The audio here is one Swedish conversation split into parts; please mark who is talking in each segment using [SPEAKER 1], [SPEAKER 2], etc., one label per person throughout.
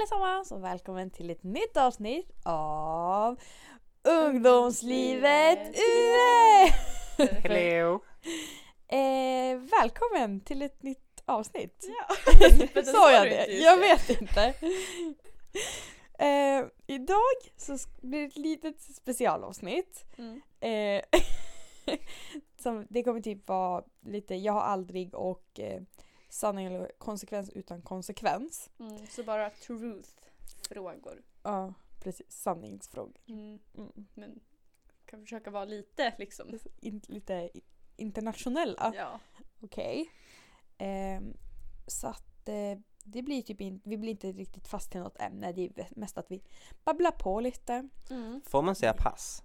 [SPEAKER 1] allesammans och välkommen till ett nytt avsnitt av Ungdomslivet UE!
[SPEAKER 2] Hello!
[SPEAKER 1] Eh, välkommen till ett nytt avsnitt!
[SPEAKER 3] Ja. Men det
[SPEAKER 1] Sa jag
[SPEAKER 3] du
[SPEAKER 1] det?
[SPEAKER 3] inte just
[SPEAKER 1] Jag
[SPEAKER 3] nu.
[SPEAKER 1] vet inte. Eh, idag så sk- blir det ett litet specialavsnitt.
[SPEAKER 3] Mm.
[SPEAKER 1] Eh, som, det kommer typ vara lite Jag har aldrig och eh, Sanning eller konsekvens utan konsekvens.
[SPEAKER 3] Mm. Så bara truth-frågor.
[SPEAKER 1] Ja, precis. Sanningsfrågor.
[SPEAKER 3] Mm.
[SPEAKER 1] Mm.
[SPEAKER 3] Men kan försöka vara lite liksom.
[SPEAKER 1] In, lite i- internationella.
[SPEAKER 3] Ja.
[SPEAKER 1] Okej. Ehm, så att eh, det blir typ in, vi blir inte riktigt fast i något ämne. Det är mest att vi babblar på lite.
[SPEAKER 3] Mm.
[SPEAKER 2] Får man säga pass?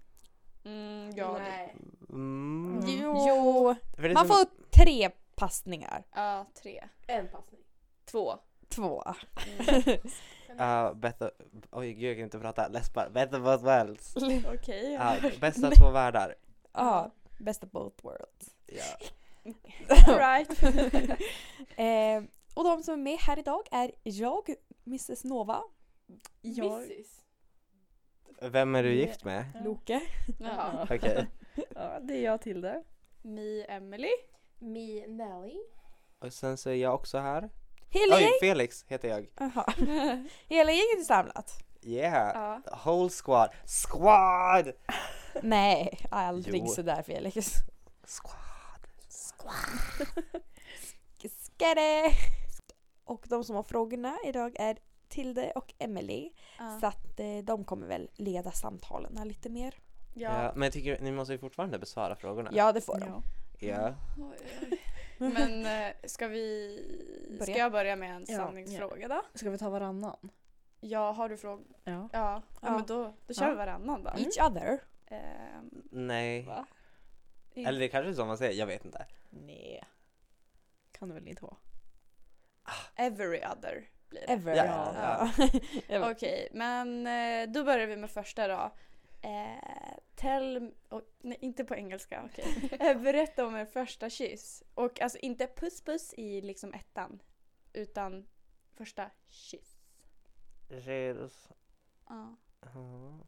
[SPEAKER 3] Mm, ja. det-
[SPEAKER 2] Mm.
[SPEAKER 3] Mm.
[SPEAKER 1] Jo.
[SPEAKER 2] För det är
[SPEAKER 1] Man
[SPEAKER 2] som-
[SPEAKER 1] får tre passningar.
[SPEAKER 3] Ja, tre.
[SPEAKER 4] En passning.
[SPEAKER 3] Två.
[SPEAKER 1] Två.
[SPEAKER 3] Mm.
[SPEAKER 2] Ja, ah, bättre... Oj, gud jag kan inte prata. Läspar. Bättre both worlds.
[SPEAKER 3] Okej.
[SPEAKER 2] Ja,
[SPEAKER 3] ja.
[SPEAKER 2] Ah, bästa av två världar.
[SPEAKER 1] ja, best of both worlds.
[SPEAKER 2] Ja.
[SPEAKER 3] All right.
[SPEAKER 1] Ehm, och de som är med här idag är jag, Mrs Nova,
[SPEAKER 3] Jag...
[SPEAKER 4] Mrs.
[SPEAKER 2] Vem är du gift med?
[SPEAKER 1] Loke.
[SPEAKER 3] Ja.
[SPEAKER 2] Okej.
[SPEAKER 5] Ja, det är jag till det.
[SPEAKER 3] Mi Emily.
[SPEAKER 4] Me Nelly.
[SPEAKER 2] Och sen så är jag också här.
[SPEAKER 1] Hela,
[SPEAKER 2] Oj,
[SPEAKER 1] gäng,
[SPEAKER 2] Felix heter jag.
[SPEAKER 1] Aha. Hela gänget är samlat.
[SPEAKER 2] Yeah!
[SPEAKER 3] Ja.
[SPEAKER 2] Whole squad. Squad!
[SPEAKER 1] Nej, aldrig
[SPEAKER 2] Jo.
[SPEAKER 1] sådär Felix.
[SPEAKER 2] Squad.
[SPEAKER 1] Skare! Och de som har frågorna idag är Tilde och Emily. Så
[SPEAKER 3] Ja.
[SPEAKER 1] att eh, de kommer väl leda samtalen här lite mer.
[SPEAKER 3] ja.
[SPEAKER 2] Ja, men jag tycker ni måste ju fortfarande besvara frågorna.
[SPEAKER 1] Ja, det får de. Mm.
[SPEAKER 2] Ja.
[SPEAKER 3] Oj, oj. Men eh, ska vi... Ska
[SPEAKER 1] Börja.
[SPEAKER 3] jag börja med en
[SPEAKER 5] Ja.
[SPEAKER 3] sanningsfråga då?
[SPEAKER 5] Ska vi ta varannan?
[SPEAKER 3] Ja, har du frågor?
[SPEAKER 5] Ja.
[SPEAKER 3] Ja. ja,
[SPEAKER 1] Ja.
[SPEAKER 3] men då, då kör
[SPEAKER 5] Ja.
[SPEAKER 3] vi varannan då.
[SPEAKER 1] Each other.
[SPEAKER 3] Ehm,
[SPEAKER 2] Nej.
[SPEAKER 3] Va?
[SPEAKER 2] Eller det kanske är så man säger, jag vet inte.
[SPEAKER 5] Nej. Kan det väl inte vara?
[SPEAKER 3] Every other blir det.
[SPEAKER 1] Ever.
[SPEAKER 2] Ja,
[SPEAKER 1] ja.
[SPEAKER 2] ja.
[SPEAKER 1] Jag bara-
[SPEAKER 3] Okej, men eh, då börjar vi med första då. Eh, tell... oj, nej, inte på engelska. okej. Eh, Berätta om er första kyss. Och alltså inte puss puss i liksom ettan. Utan första kyss.
[SPEAKER 2] Redos.
[SPEAKER 3] Ja.
[SPEAKER 2] Ja.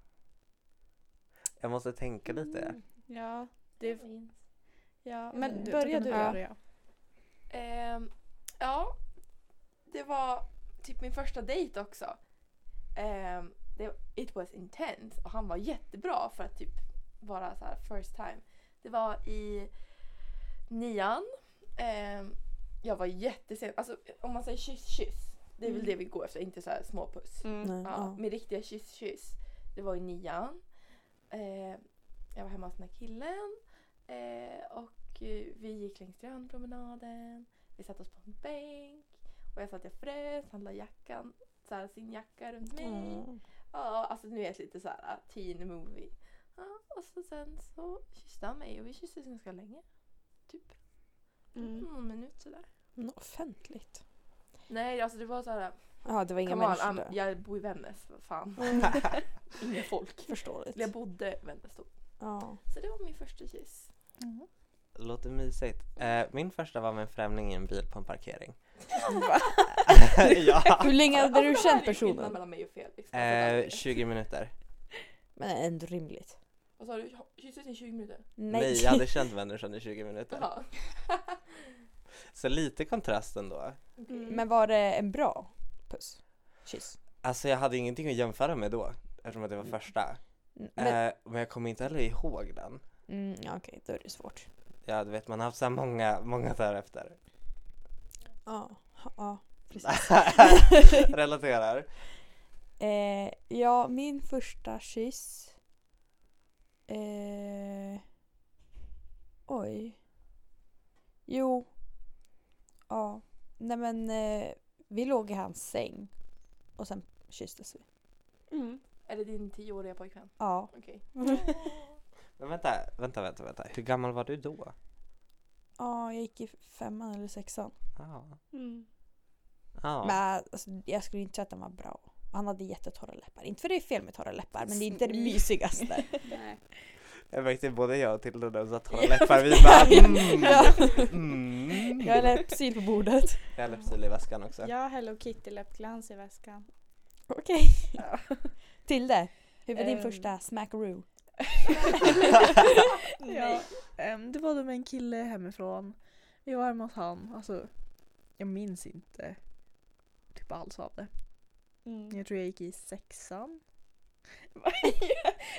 [SPEAKER 2] Jag måste tänka lite.
[SPEAKER 3] Ja, det, ja.
[SPEAKER 4] Ja,
[SPEAKER 3] men
[SPEAKER 4] men du-
[SPEAKER 3] börja
[SPEAKER 5] då
[SPEAKER 3] du.
[SPEAKER 5] kan du
[SPEAKER 3] Ja.
[SPEAKER 4] Ehm, ja, det var typ min första dejt också. Ehm, det, it was intense och han var jättebra för att typ vara så här first time. Det var i nian. Ehm, jag var jättesen. Alltså om man säger kyss, kyss. Det är väl
[SPEAKER 3] Mm.
[SPEAKER 4] det vi går efter, inte så här småpuss.
[SPEAKER 3] Mm.
[SPEAKER 1] Nej,
[SPEAKER 4] Ja,
[SPEAKER 1] ja.
[SPEAKER 4] min riktiga kyss-kyss. Det var i nian. Eh, jag var hemma hos den här killen. Eh, och eh, vi gick längs strandpromenaden. Vi satte oss på en bänk. Och jag sa att jag frös. Han la jackan, så här, sin jacka runt mig.
[SPEAKER 1] Mm.
[SPEAKER 4] Ja, alltså nu är jag lite så här teen movie. Ja, och så sen så kysste han mig och vi kysstes ganska länge. Typ
[SPEAKER 3] Mm.
[SPEAKER 4] någon minut sådär.
[SPEAKER 1] Nå, Offentligt.
[SPEAKER 4] Nej, alltså det var så här.
[SPEAKER 1] Ja, det var inga
[SPEAKER 4] Come on,
[SPEAKER 1] människor
[SPEAKER 4] I'm-
[SPEAKER 1] där.
[SPEAKER 4] jag bor i Vännäs, vad fan. Inga folk.
[SPEAKER 1] Förståeligt.
[SPEAKER 4] Eller jag bodde i Vännäs då.
[SPEAKER 1] Ja.
[SPEAKER 4] Så det var min första kyss.
[SPEAKER 3] Mm.
[SPEAKER 2] Låter mysigt. Eh, min första var med en främling i en bil på en parkering. ja.
[SPEAKER 1] Hur länge hade du
[SPEAKER 4] Alltså, det här
[SPEAKER 1] känt
[SPEAKER 4] är ju skillnaden
[SPEAKER 1] personen?
[SPEAKER 4] mellan mig och Felix.
[SPEAKER 2] Eh,
[SPEAKER 4] Alltså,
[SPEAKER 2] 20 minuter.
[SPEAKER 1] Men ändå rimligt.
[SPEAKER 4] Vad sa du? Kysstes i 20 minuter?
[SPEAKER 2] Nej.
[SPEAKER 1] Nej.
[SPEAKER 2] jag hade känt människan i 20 minuter.
[SPEAKER 4] Jaha.
[SPEAKER 2] Så lite kontrast ändå.
[SPEAKER 3] Mm.
[SPEAKER 1] Men var det en bra puss? Kyss?
[SPEAKER 2] Alltså jag hade ingenting att jämföra med då. Eftersom att det var första.
[SPEAKER 1] Men,
[SPEAKER 2] eh, men jag kommer inte heller ihåg den.
[SPEAKER 1] mm, ja, okej, då är det svårt.
[SPEAKER 2] Ja du vet man har haft så här många, många dagar efter.
[SPEAKER 1] Ja, ja.
[SPEAKER 2] Relaterar.
[SPEAKER 1] Eh, ja, min första kyss. Eh, oj. Jo. Ja. Nej men eh, vi låg i hans säng. Och sen kysstes vi.
[SPEAKER 3] Mm.
[SPEAKER 4] Är det din 10-åriga pojkvän?
[SPEAKER 1] Ja.
[SPEAKER 4] Okej.
[SPEAKER 2] Men vänta, vänta, vänta, vänta. Hur gammal var du då?
[SPEAKER 1] Ja, jag gick i femman eller sexan.
[SPEAKER 2] Ja.
[SPEAKER 3] Mm.
[SPEAKER 2] Ja.
[SPEAKER 1] Men alltså, jag skulle inte säga att den var bra. Han hade jättetorra läppar. Inte för det är fel med torra läppar men det är inte
[SPEAKER 5] Mm.
[SPEAKER 1] det
[SPEAKER 3] Snygg.
[SPEAKER 1] mysigaste.
[SPEAKER 3] Nej.
[SPEAKER 2] Jag märkte både jag och Tilde när hon sa torra läppar. Vi bara mm,
[SPEAKER 1] Ja.
[SPEAKER 2] mm.
[SPEAKER 1] Jag har läppsyl på bordet.
[SPEAKER 2] Jag har läppstil i väskan också.
[SPEAKER 3] Jag har Hello Kitty läppglans i väskan.
[SPEAKER 1] Okej. Tilde, hur var din
[SPEAKER 5] Ehm.
[SPEAKER 1] första smackaroo?
[SPEAKER 5] Ja, ehm, det var då med en kille hemifrån. Vi var hemma hos han. Alltså, jag minns inte typ alls av det.
[SPEAKER 3] Mm.
[SPEAKER 5] Jag tror jag gick i sexan.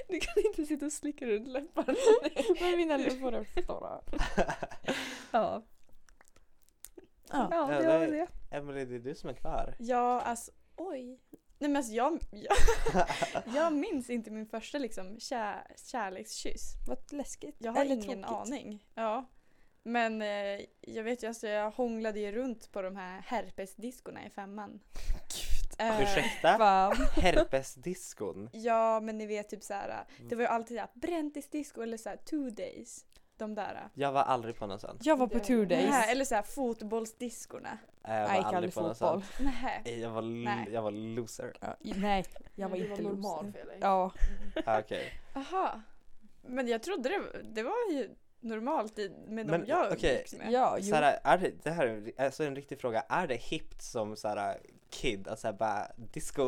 [SPEAKER 5] du kan inte sitta och slicka runt läpparna.
[SPEAKER 1] Vad är mina läppar uppstora?
[SPEAKER 5] ja.
[SPEAKER 1] Ja.
[SPEAKER 5] ja,
[SPEAKER 2] Ja,
[SPEAKER 5] det var
[SPEAKER 2] det-
[SPEAKER 5] väl det.
[SPEAKER 2] Emelie, det är du som är klar.
[SPEAKER 3] Ja, alltså oj. Nej men alltså jag, jag, jag minns inte min första liksom kär, kärlekskyss.
[SPEAKER 1] Vad läskigt.
[SPEAKER 3] Jag har
[SPEAKER 1] Eller
[SPEAKER 3] ingen
[SPEAKER 1] tråkigt.
[SPEAKER 3] aning. Ja. Men eh, jag vet ju, alltså, jag hånglade ju runt på de här herpesdiskorna i femman. Eh,
[SPEAKER 2] Ursäkta?
[SPEAKER 1] Fan.
[SPEAKER 2] Herpesdiskon?
[SPEAKER 3] Ja, men ni vet typ så här.
[SPEAKER 1] Mm.
[SPEAKER 3] Det var ju alltid såhär bräntisdisco eller såhär two days. De där.
[SPEAKER 2] Jag var aldrig på något sånt.
[SPEAKER 1] Jag var på
[SPEAKER 4] Det-
[SPEAKER 1] two days.
[SPEAKER 3] Nej, eller såhär fotbollsdiskorna.
[SPEAKER 2] Eh, Jag var
[SPEAKER 1] jag gick aldrig
[SPEAKER 2] aldrig på något sånt.
[SPEAKER 1] fotboll.
[SPEAKER 3] Nej.
[SPEAKER 2] Eh, Jag var, l-
[SPEAKER 3] Nej.
[SPEAKER 2] jag var loser.
[SPEAKER 1] Ja, nej, jag var
[SPEAKER 4] Du
[SPEAKER 1] inte
[SPEAKER 4] normal
[SPEAKER 1] normal.
[SPEAKER 4] för dig.
[SPEAKER 1] Ja,
[SPEAKER 2] Ah, Okej.
[SPEAKER 3] Aha. Men jag trodde det, det var ju normalt i, med de
[SPEAKER 2] Men,
[SPEAKER 3] jag
[SPEAKER 2] okej.
[SPEAKER 3] umgicks med.
[SPEAKER 1] ja, jo.
[SPEAKER 2] Såhär, är det, det här är alltså en riktig fråga. Är det hippt som såhär kid att såhär bara disco?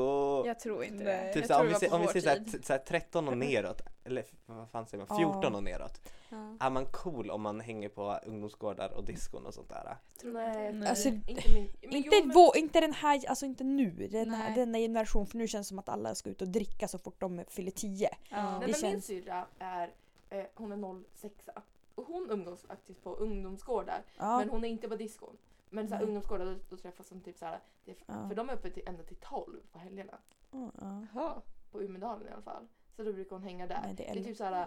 [SPEAKER 3] Jag tror inte
[SPEAKER 5] Nej.
[SPEAKER 3] det.
[SPEAKER 2] typ
[SPEAKER 3] jag
[SPEAKER 2] såhär,
[SPEAKER 3] tror
[SPEAKER 2] om vi
[SPEAKER 3] det
[SPEAKER 2] säger, om vi
[SPEAKER 3] var på vår
[SPEAKER 2] säger såhär,
[SPEAKER 3] tid.
[SPEAKER 2] t- såhär 13 och neråt, eller f- vad fan säger man,
[SPEAKER 1] Ja.
[SPEAKER 2] 14 och neråt.
[SPEAKER 3] Ja.
[SPEAKER 2] Är man cool om man hänger på ungdomsgårdar och diskon och sånt där?
[SPEAKER 4] Nej,
[SPEAKER 5] Nej.
[SPEAKER 1] Alltså,
[SPEAKER 4] inte min... men
[SPEAKER 1] inte,
[SPEAKER 4] jo, men-
[SPEAKER 1] vå, inte den här, alltså inte nu, den här,
[SPEAKER 3] Nej.
[SPEAKER 1] denna generation för nu känns det som att alla ska ut och dricka så fort de fyller 10.
[SPEAKER 3] Ja.
[SPEAKER 4] Nej,
[SPEAKER 1] Det
[SPEAKER 4] men min
[SPEAKER 1] känns-
[SPEAKER 4] syrra är, eh, hon är 06 och hon umgås faktiskt på ungdomsgårdar
[SPEAKER 1] Ja.
[SPEAKER 4] men hon är inte på diskon. Men så här,
[SPEAKER 1] Nej.
[SPEAKER 4] ungdomsgårdar då, då träffas de typ så här, det är,
[SPEAKER 1] Ja.
[SPEAKER 4] för de är uppe till, ända till 12 på helgerna.
[SPEAKER 1] Ja, ja.
[SPEAKER 3] Jaha.
[SPEAKER 4] På Umedalen i alla fall. Så då brukar hon hänga där.
[SPEAKER 1] Nej, det
[SPEAKER 4] det,
[SPEAKER 1] är
[SPEAKER 4] är typ så här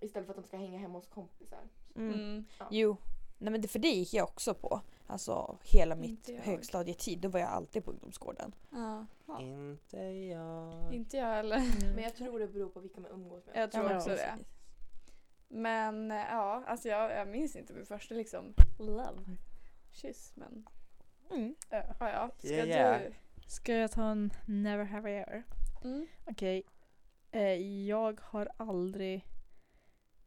[SPEAKER 4] istället för att de ska hänga hemma hos kompisar.
[SPEAKER 1] Mm.
[SPEAKER 3] Mm.
[SPEAKER 1] Jo, Nej, men det, för det gick jag också på. Alltså hela mitt
[SPEAKER 3] Inte jag.
[SPEAKER 1] högstadietid, då var jag alltid på ungdomsgården.
[SPEAKER 3] Ja. Ja.
[SPEAKER 2] Inte jag.
[SPEAKER 3] Inte jag heller.
[SPEAKER 4] Men jag tror det beror på vilka man umgås med.
[SPEAKER 3] Jag tror
[SPEAKER 5] Ja,
[SPEAKER 3] också det.
[SPEAKER 1] precis.
[SPEAKER 3] Men eh, ja, alltså jag, jag minns inte min första liksom love. Kyss men
[SPEAKER 1] Mm.
[SPEAKER 3] ja, ja. Ska
[SPEAKER 2] Ja, ja.
[SPEAKER 3] du?
[SPEAKER 5] Ska jag ta en never have I ever?
[SPEAKER 3] Mm.
[SPEAKER 5] Okej. Eh, jag har aldrig...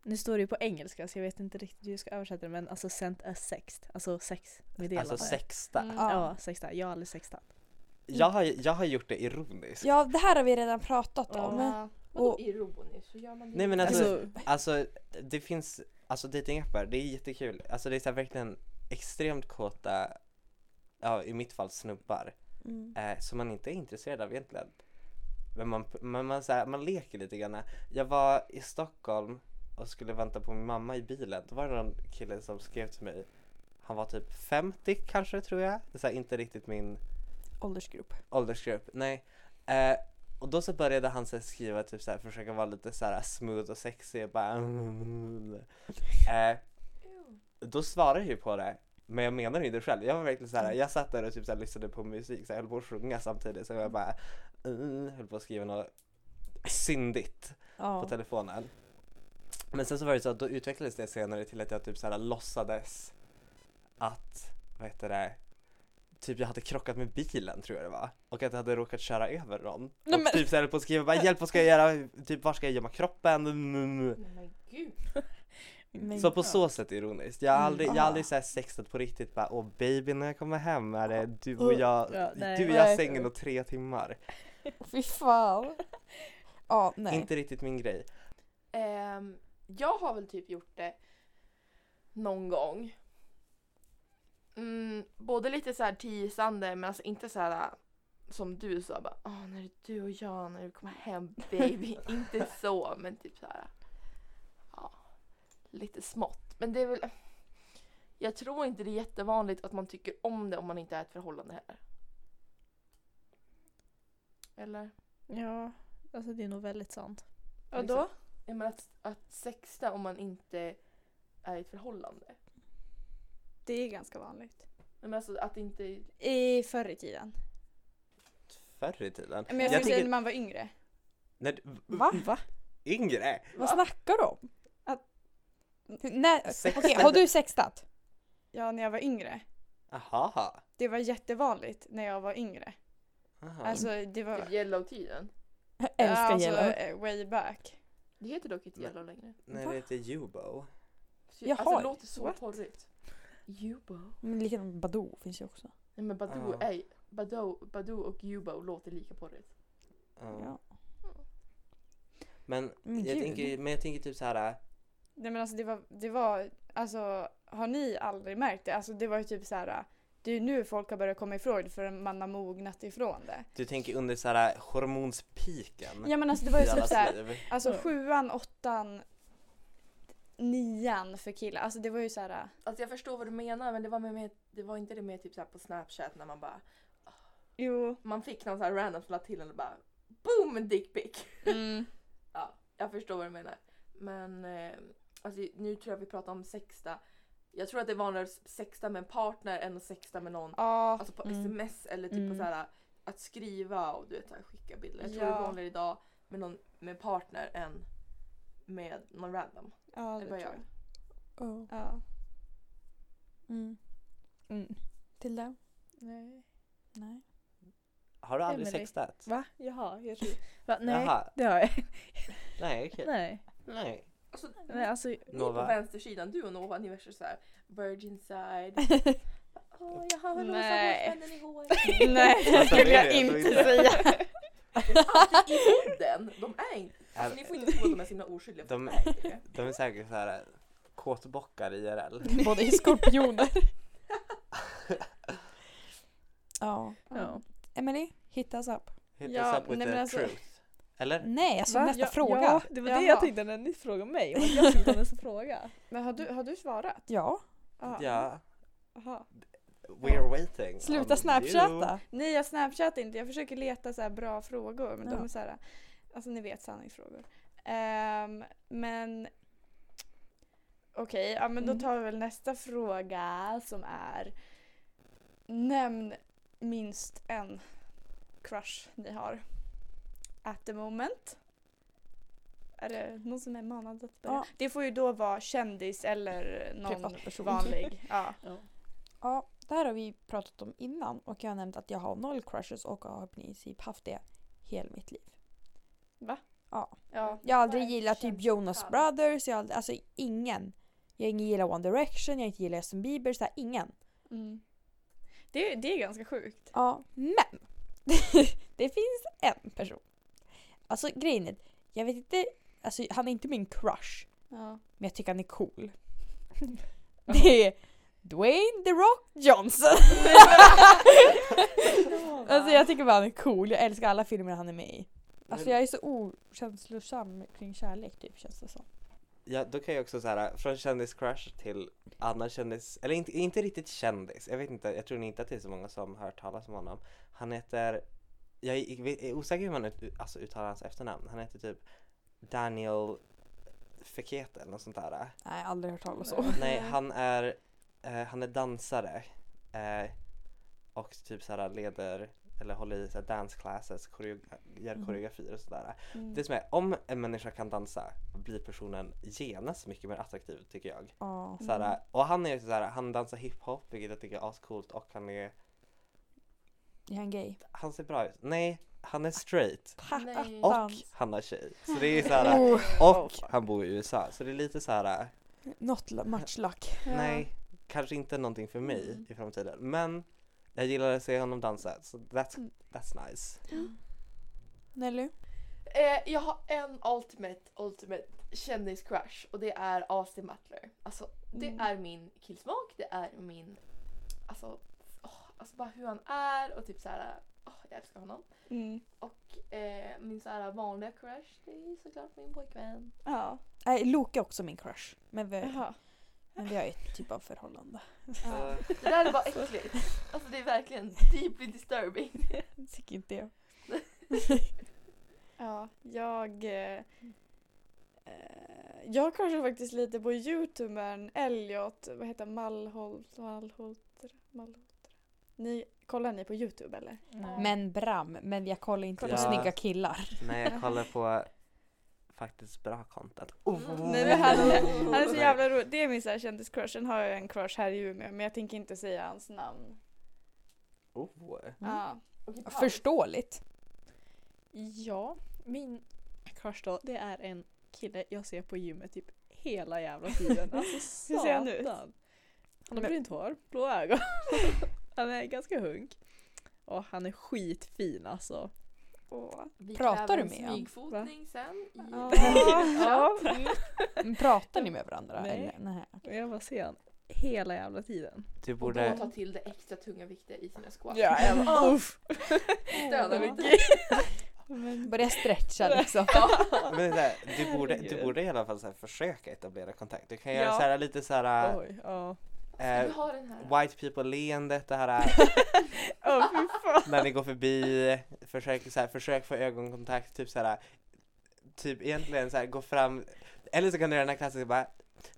[SPEAKER 5] Nu står det ju på engelska så jag vet inte riktigt hur jag ska översätta det men alltså sent a sext. Alltså sex meddelande.
[SPEAKER 2] Alltså sexta.
[SPEAKER 3] Mm.
[SPEAKER 1] Ja.
[SPEAKER 5] Ja, sexta. Jag har aldrig sextat.
[SPEAKER 2] Jag har, jag har gjort det ironiskt.
[SPEAKER 1] Ja, det här har vi redan pratat om.
[SPEAKER 3] Ja.
[SPEAKER 4] Vadå
[SPEAKER 1] Och-
[SPEAKER 4] ironiskt? Så gör man det
[SPEAKER 2] Nej, men
[SPEAKER 4] inte.
[SPEAKER 2] Alltså-
[SPEAKER 5] Alltså,
[SPEAKER 2] Alltså det finns, alltså dejtingappar, det är jättekul. Alltså det är så här verkligen extremt kåta, ja i mitt fall snubbar,
[SPEAKER 1] Mm.
[SPEAKER 2] eh, som man inte är intresserad av egentligen. Men man, men man, så här, man leker lite grann. Jag var i Stockholm och skulle vänta på min mamma i bilen. Då var det någon kille som skrev till mig. Han var typ 50 kanske tror jag. Det är så här, inte riktigt min
[SPEAKER 1] Åldersgrupp.
[SPEAKER 2] åldersgrupp. Nej. Eh, och då så började han så här, skriva typ så här, försöka vara lite så här smooth och sexy och bara eh,
[SPEAKER 4] Ew.
[SPEAKER 2] Då svarade jag ju på det. Men jag menar ju inte själv. Jag var verkligen så här, jag satt där och typ så här, lyssnade på musik, så jag höll på att sjunga samtidigt så jag bara mm, höll på att skriva något syndigt på
[SPEAKER 1] Ja.
[SPEAKER 2] telefonen. Men sen så var det så att då utvecklades det senare till att jag typ så här låtsades att, vad heter det, typ jag hade krockat med bilen tror jag det var och att jag hade råkat köra över någon.
[SPEAKER 1] Nej,
[SPEAKER 2] och
[SPEAKER 1] men-
[SPEAKER 2] typ så här höll på att skriva bara hjälp vad ska jag göra, typ var ska jag gömma kroppen? Mm.
[SPEAKER 4] Nej, men gud.
[SPEAKER 1] Men-
[SPEAKER 2] Så på så sätt ironiskt. Jag har
[SPEAKER 5] Mm.
[SPEAKER 2] aldrig, jag har
[SPEAKER 1] Ah.
[SPEAKER 2] aldrig så här sextat på riktigt bara åh baby när jag kommer hem är det du och jag,
[SPEAKER 5] Ja, nej.
[SPEAKER 2] du och jag i
[SPEAKER 1] Nej.
[SPEAKER 2] sängen och tre timmar.
[SPEAKER 1] Fy fan. Ja, nej.
[SPEAKER 2] Inte riktigt min grej.
[SPEAKER 4] Ehm, jag har väl typ gjort det någon gång. Mm, både lite så här teasande men alltså inte så här som du sa bara Åh, när det är du och jag när du kommer hem baby. inte så men typ så här. Ja, lite smått. Men det är väl jag tror inte det är jättevanligt att man tycker om det om man inte är i ett förhållande heller. Eller?
[SPEAKER 5] ja, alltså det är nog väldigt sant.
[SPEAKER 3] Och då?
[SPEAKER 4] Jag menar att, att sexta om man inte är i ett förhållande.
[SPEAKER 3] Det är ganska vanligt.
[SPEAKER 4] Nej, men alltså att inte...
[SPEAKER 3] I förr i tiden.
[SPEAKER 2] Förr i tiden.
[SPEAKER 3] Men jag,
[SPEAKER 2] Jag
[SPEAKER 3] skulle säga
[SPEAKER 2] tycker-
[SPEAKER 3] när man var yngre.
[SPEAKER 2] När, du-
[SPEAKER 1] Va?
[SPEAKER 2] Yngre?
[SPEAKER 1] Vad snackar du om? Att... Hur- När...
[SPEAKER 2] Sex-
[SPEAKER 1] Okej, har du sextat?
[SPEAKER 3] Ja, när jag var yngre.
[SPEAKER 2] Aha.
[SPEAKER 3] Det var jättevanligt när jag var yngre.
[SPEAKER 2] Aha.
[SPEAKER 3] Alltså det var...
[SPEAKER 4] Typ yellow-tiden.
[SPEAKER 1] Jag älskar
[SPEAKER 3] alltså,
[SPEAKER 1] yellow.
[SPEAKER 3] eh, Way back.
[SPEAKER 4] Det heter dock inte
[SPEAKER 2] Men-
[SPEAKER 4] yellow längre.
[SPEAKER 2] Nej,
[SPEAKER 1] va?
[SPEAKER 2] det heter Jubo.
[SPEAKER 4] Så,
[SPEAKER 1] Jaha,
[SPEAKER 4] alltså det låter så
[SPEAKER 1] what?
[SPEAKER 4] porrigt. Jubo.
[SPEAKER 1] Men likadant Badoo finns ju också.
[SPEAKER 4] Nej men Badoo
[SPEAKER 2] Ja.
[SPEAKER 4] är ju... Badoo, Badoo och Yubo låter lika porrigt.
[SPEAKER 2] Ja.
[SPEAKER 1] Ja.
[SPEAKER 2] Men,
[SPEAKER 1] Men
[SPEAKER 2] jag
[SPEAKER 1] gud.
[SPEAKER 2] tänker, men jag tänker typ så här.
[SPEAKER 3] Nej men alltså det var, det var, alltså har ni aldrig märkt det? Alltså det var ju typ så här. det är ju nu folk har börjat komma ifrån det förrän man har mognat ifrån det.
[SPEAKER 2] Du tänker under så här hormonspiken.
[SPEAKER 3] Ja men alltså det var ju
[SPEAKER 2] i
[SPEAKER 3] typ
[SPEAKER 2] allas
[SPEAKER 3] så här,
[SPEAKER 2] liv.
[SPEAKER 3] Alltså
[SPEAKER 5] Ja.
[SPEAKER 3] sjuan, åttan, nian för killar. Alltså det var ju så här.
[SPEAKER 4] Alltså jag förstår vad du menar men det var, med, med, det var inte det mer typ så här på snapchat när man bara
[SPEAKER 3] Jo.
[SPEAKER 4] Man fick någon så här random som la till en och bara BOOM dickpic!
[SPEAKER 3] Mm.
[SPEAKER 4] Ja, jag förstår vad du menar. Men eh, alltså, nu tror jag vi pratar om sexta. Jag tror att det är vanligare att sexta med en partner än att sexta med någon.
[SPEAKER 3] Ja.
[SPEAKER 4] Alltså på
[SPEAKER 1] Mm.
[SPEAKER 4] sms eller typ på
[SPEAKER 5] Mm.
[SPEAKER 4] så här att skriva och du vet så här, skicka bilder. Jag tror
[SPEAKER 3] Ja.
[SPEAKER 4] det är vanligare idag med någon med partner än med någon random.
[SPEAKER 3] Ja,
[SPEAKER 4] Det är bara jag.
[SPEAKER 1] Ja.
[SPEAKER 3] Ja.
[SPEAKER 1] Mm.
[SPEAKER 5] Mm.
[SPEAKER 1] Tilda?
[SPEAKER 5] Nej.
[SPEAKER 1] Nej.
[SPEAKER 2] Har du aldrig
[SPEAKER 5] Emily.
[SPEAKER 2] sextat?
[SPEAKER 5] Va? Jaha, jag tror... Va? Nej,
[SPEAKER 2] Jaha.
[SPEAKER 5] det har jag.
[SPEAKER 2] Nej, okej.
[SPEAKER 5] Nej.
[SPEAKER 2] Nej.
[SPEAKER 4] Alltså,
[SPEAKER 5] Nej, alltså...
[SPEAKER 4] ni på
[SPEAKER 2] Nova.
[SPEAKER 4] vänstersidan, du och Nova, ni är värsta såhär virgin side. Åh, jag har rosa
[SPEAKER 3] Nej.
[SPEAKER 4] hårspännen i håret.
[SPEAKER 3] Nej, det skulle jag inte säga.
[SPEAKER 4] Alltid i bilden. De är inte... Alltså, ni får inte tro att de är så himla oskyldiga. för
[SPEAKER 2] De-
[SPEAKER 4] är inte det.
[SPEAKER 2] De är säkert så här äh, kåtbockar IRL.
[SPEAKER 1] Båda är skorpioner. ja.
[SPEAKER 5] Ja.
[SPEAKER 1] Emily, hit us up.
[SPEAKER 2] Hit
[SPEAKER 3] Ja,
[SPEAKER 2] us up with
[SPEAKER 3] nej,
[SPEAKER 2] the
[SPEAKER 3] men alltså-
[SPEAKER 2] truth. Eller?
[SPEAKER 1] Nej, alltså
[SPEAKER 5] Va?
[SPEAKER 1] nästa
[SPEAKER 5] ja,
[SPEAKER 1] fråga.
[SPEAKER 5] Ja,
[SPEAKER 1] Ja.
[SPEAKER 5] det var det jag
[SPEAKER 3] Jaha.
[SPEAKER 5] tänkte när ni frågade mig. Om att jag skulle ta nästa fråga.
[SPEAKER 3] Men har du, har du svarat? Aha.
[SPEAKER 2] Ja.
[SPEAKER 3] Aha.
[SPEAKER 2] We're waiting.
[SPEAKER 1] Sluta
[SPEAKER 2] on you.
[SPEAKER 1] snapchatta.
[SPEAKER 3] Nej, jag snapchattar inte. Jag försöker leta så här bra frågor. Men
[SPEAKER 1] Ja.
[SPEAKER 3] de är så här, alltså ni vet sanningsfrågor. Ehm, men okej, ja, men
[SPEAKER 5] Mm.
[SPEAKER 3] då tar vi väl nästa fråga som är Nämn minst en crush ni har at the moment. Är det någon som är manad att börja?
[SPEAKER 1] Ja.
[SPEAKER 3] Det får ju då vara kändis eller någon
[SPEAKER 1] Privatperson.
[SPEAKER 3] vanlig. Ja.
[SPEAKER 1] Mm. Ja, det här har vi pratat om innan och jag har nämnt att jag har noll crushes och har i princip haft det hela mitt liv.
[SPEAKER 3] ja.
[SPEAKER 1] Jag har aldrig
[SPEAKER 4] Vad
[SPEAKER 1] gillat
[SPEAKER 4] känns
[SPEAKER 1] typ Jonas
[SPEAKER 4] fall?
[SPEAKER 1] Brothers, jag har aldrig, alltså ingen. Jag har ingen gillar One Direction, jag har inte gillar Justin Bieber, så här, ingen.
[SPEAKER 3] Mm. Det, det är ganska sjukt.
[SPEAKER 1] Ja, men det finns en person. Alltså grejen är, jag vet inte, alltså han är inte min crush,
[SPEAKER 3] Ja.
[SPEAKER 1] men jag tycker han är cool. Det är Dwayne The Rock Johnson. alltså jag tycker bara han är cool, jag älskar alla filmer han är med i. Alltså
[SPEAKER 2] Men-
[SPEAKER 1] jag är så okänslosam kring kärlek typ känns det som.
[SPEAKER 2] Ja, då kan jag också så här äh, från kändiscrush till annan kändis, eller inte, inte riktigt kändis, jag vet inte, jag tror inte att det är så många som har hört talas om honom. Han heter, jag är, är osäker hur man ut, alltså, uttalar hans efternamn, han heter typ Daniel Fekete eller något sånt där.
[SPEAKER 1] Nej, aldrig hört talas
[SPEAKER 3] om.
[SPEAKER 2] Nej, han är, eh, han är dansare eh, och typ så här leder eller håller i så här dance classes, koreog- gör
[SPEAKER 1] Mhm.
[SPEAKER 2] koreografier och sådär.
[SPEAKER 3] Mm.
[SPEAKER 2] Det som är, om en människa kan dansa blir personen genast mycket mer attraktiv tycker jag.
[SPEAKER 1] Ja.
[SPEAKER 2] Såhär, Och han är ju såhär, han dansar hiphop vilket jag tycker är ascoolt och han är,
[SPEAKER 1] Är han gay?
[SPEAKER 2] han ser bra ut. Nej, han är straight.
[SPEAKER 4] Nej.
[SPEAKER 2] Och
[SPEAKER 1] Dans.
[SPEAKER 2] han har tjej. Så det är såhär,
[SPEAKER 1] Oh,
[SPEAKER 2] och han bor i USA. Så det är lite såhär,
[SPEAKER 1] not much luck.
[SPEAKER 3] Ja.
[SPEAKER 2] nej, kanske inte någonting för mig
[SPEAKER 3] Mm.
[SPEAKER 2] i framtiden. Men jag gillar att se honom dansa, så that's,
[SPEAKER 1] Mm.
[SPEAKER 2] that's nice.
[SPEAKER 1] Nelly?
[SPEAKER 4] Eh, jag har en ultimate, ultimate kändiscrush och det är Austin Butler. Alltså det
[SPEAKER 3] Mm.
[SPEAKER 4] är min killsmak, det är min... Alltså, åh, alltså bara hur han är och typ så här, åh, jag älskar honom.
[SPEAKER 3] Mm.
[SPEAKER 4] Och eh, min så här vanliga crush det är såklart min pojkvän.
[SPEAKER 3] Ja.
[SPEAKER 1] Nej, Loke är också min crush. Men vi,
[SPEAKER 3] Jaha.
[SPEAKER 1] men vi har ju ett typ av förhållande.
[SPEAKER 3] Ja.
[SPEAKER 2] Så,
[SPEAKER 4] Det där är bara äckligt. Alltså det är verkligen deeply disturbing.
[SPEAKER 1] Tycker inte jag.
[SPEAKER 3] ja. Jag... Eh, eh, jag kanske faktiskt lite på youtubern Elliot, vad heter han? Mallholt, Mallholt, Mallholt. Ni, kollar ni på youtube eller?
[SPEAKER 5] Nej.
[SPEAKER 1] Men Bram, men jag kollar inte på
[SPEAKER 2] Ja.
[SPEAKER 1] snygga killar.
[SPEAKER 2] nej, jag kollar på faktiskt bra content. Oh.
[SPEAKER 3] Mm. Nej, men han,
[SPEAKER 4] är-
[SPEAKER 3] han är så jävla rolig. Det är min så här kändiscrush. Sen har jag en crush här i Umeå men jag tänker inte säga hans namn.
[SPEAKER 2] Oh.
[SPEAKER 1] Mm.
[SPEAKER 3] Ja.
[SPEAKER 4] Okej, paus.
[SPEAKER 1] Förståeligt.
[SPEAKER 5] Ja, min crush då, det är en kille jag ser på gymmet typ hela jävla tiden. Alltså
[SPEAKER 3] Hur ser han ut?
[SPEAKER 5] satan. Han har
[SPEAKER 1] Men-
[SPEAKER 5] brunt hår, blå ögon. han är ganska hunk. Och han är skitfin alltså.
[SPEAKER 3] Åh.
[SPEAKER 4] Vi
[SPEAKER 1] Pratar
[SPEAKER 4] kräver
[SPEAKER 1] du
[SPEAKER 4] en
[SPEAKER 1] med honom?
[SPEAKER 4] smygfotning sen. i-
[SPEAKER 3] Ja.
[SPEAKER 5] Ja.
[SPEAKER 1] Men pratar ni med varandra?
[SPEAKER 5] Nej.
[SPEAKER 1] Eller? Nej. okej.
[SPEAKER 5] Och jag bara ser han hela jävla tiden.
[SPEAKER 2] Du
[SPEAKER 4] Och de
[SPEAKER 2] borde,
[SPEAKER 4] tar till det extra tunga vikter i sina skål.
[SPEAKER 5] Ja, jag bara, uff.
[SPEAKER 4] Döda
[SPEAKER 1] Ja.
[SPEAKER 4] lite.
[SPEAKER 1] Börja stretcha liksom.
[SPEAKER 2] men så här, du, borde, du
[SPEAKER 5] Herregud.
[SPEAKER 2] borde i alla fall så här, försöka etablera kontakt. Du kan göra
[SPEAKER 5] Ja.
[SPEAKER 2] så här, lite så här
[SPEAKER 5] Oj, ja.
[SPEAKER 4] Ska
[SPEAKER 2] eh,
[SPEAKER 4] vi ha den här?
[SPEAKER 2] white people leendet, det här
[SPEAKER 5] Ja, fy fan.
[SPEAKER 2] när ni går förbi, försök, så här, försök få ögonkontakt, typ så här, typ egentligen så här, gå fram, eller så kan du göra den här klassiska bara,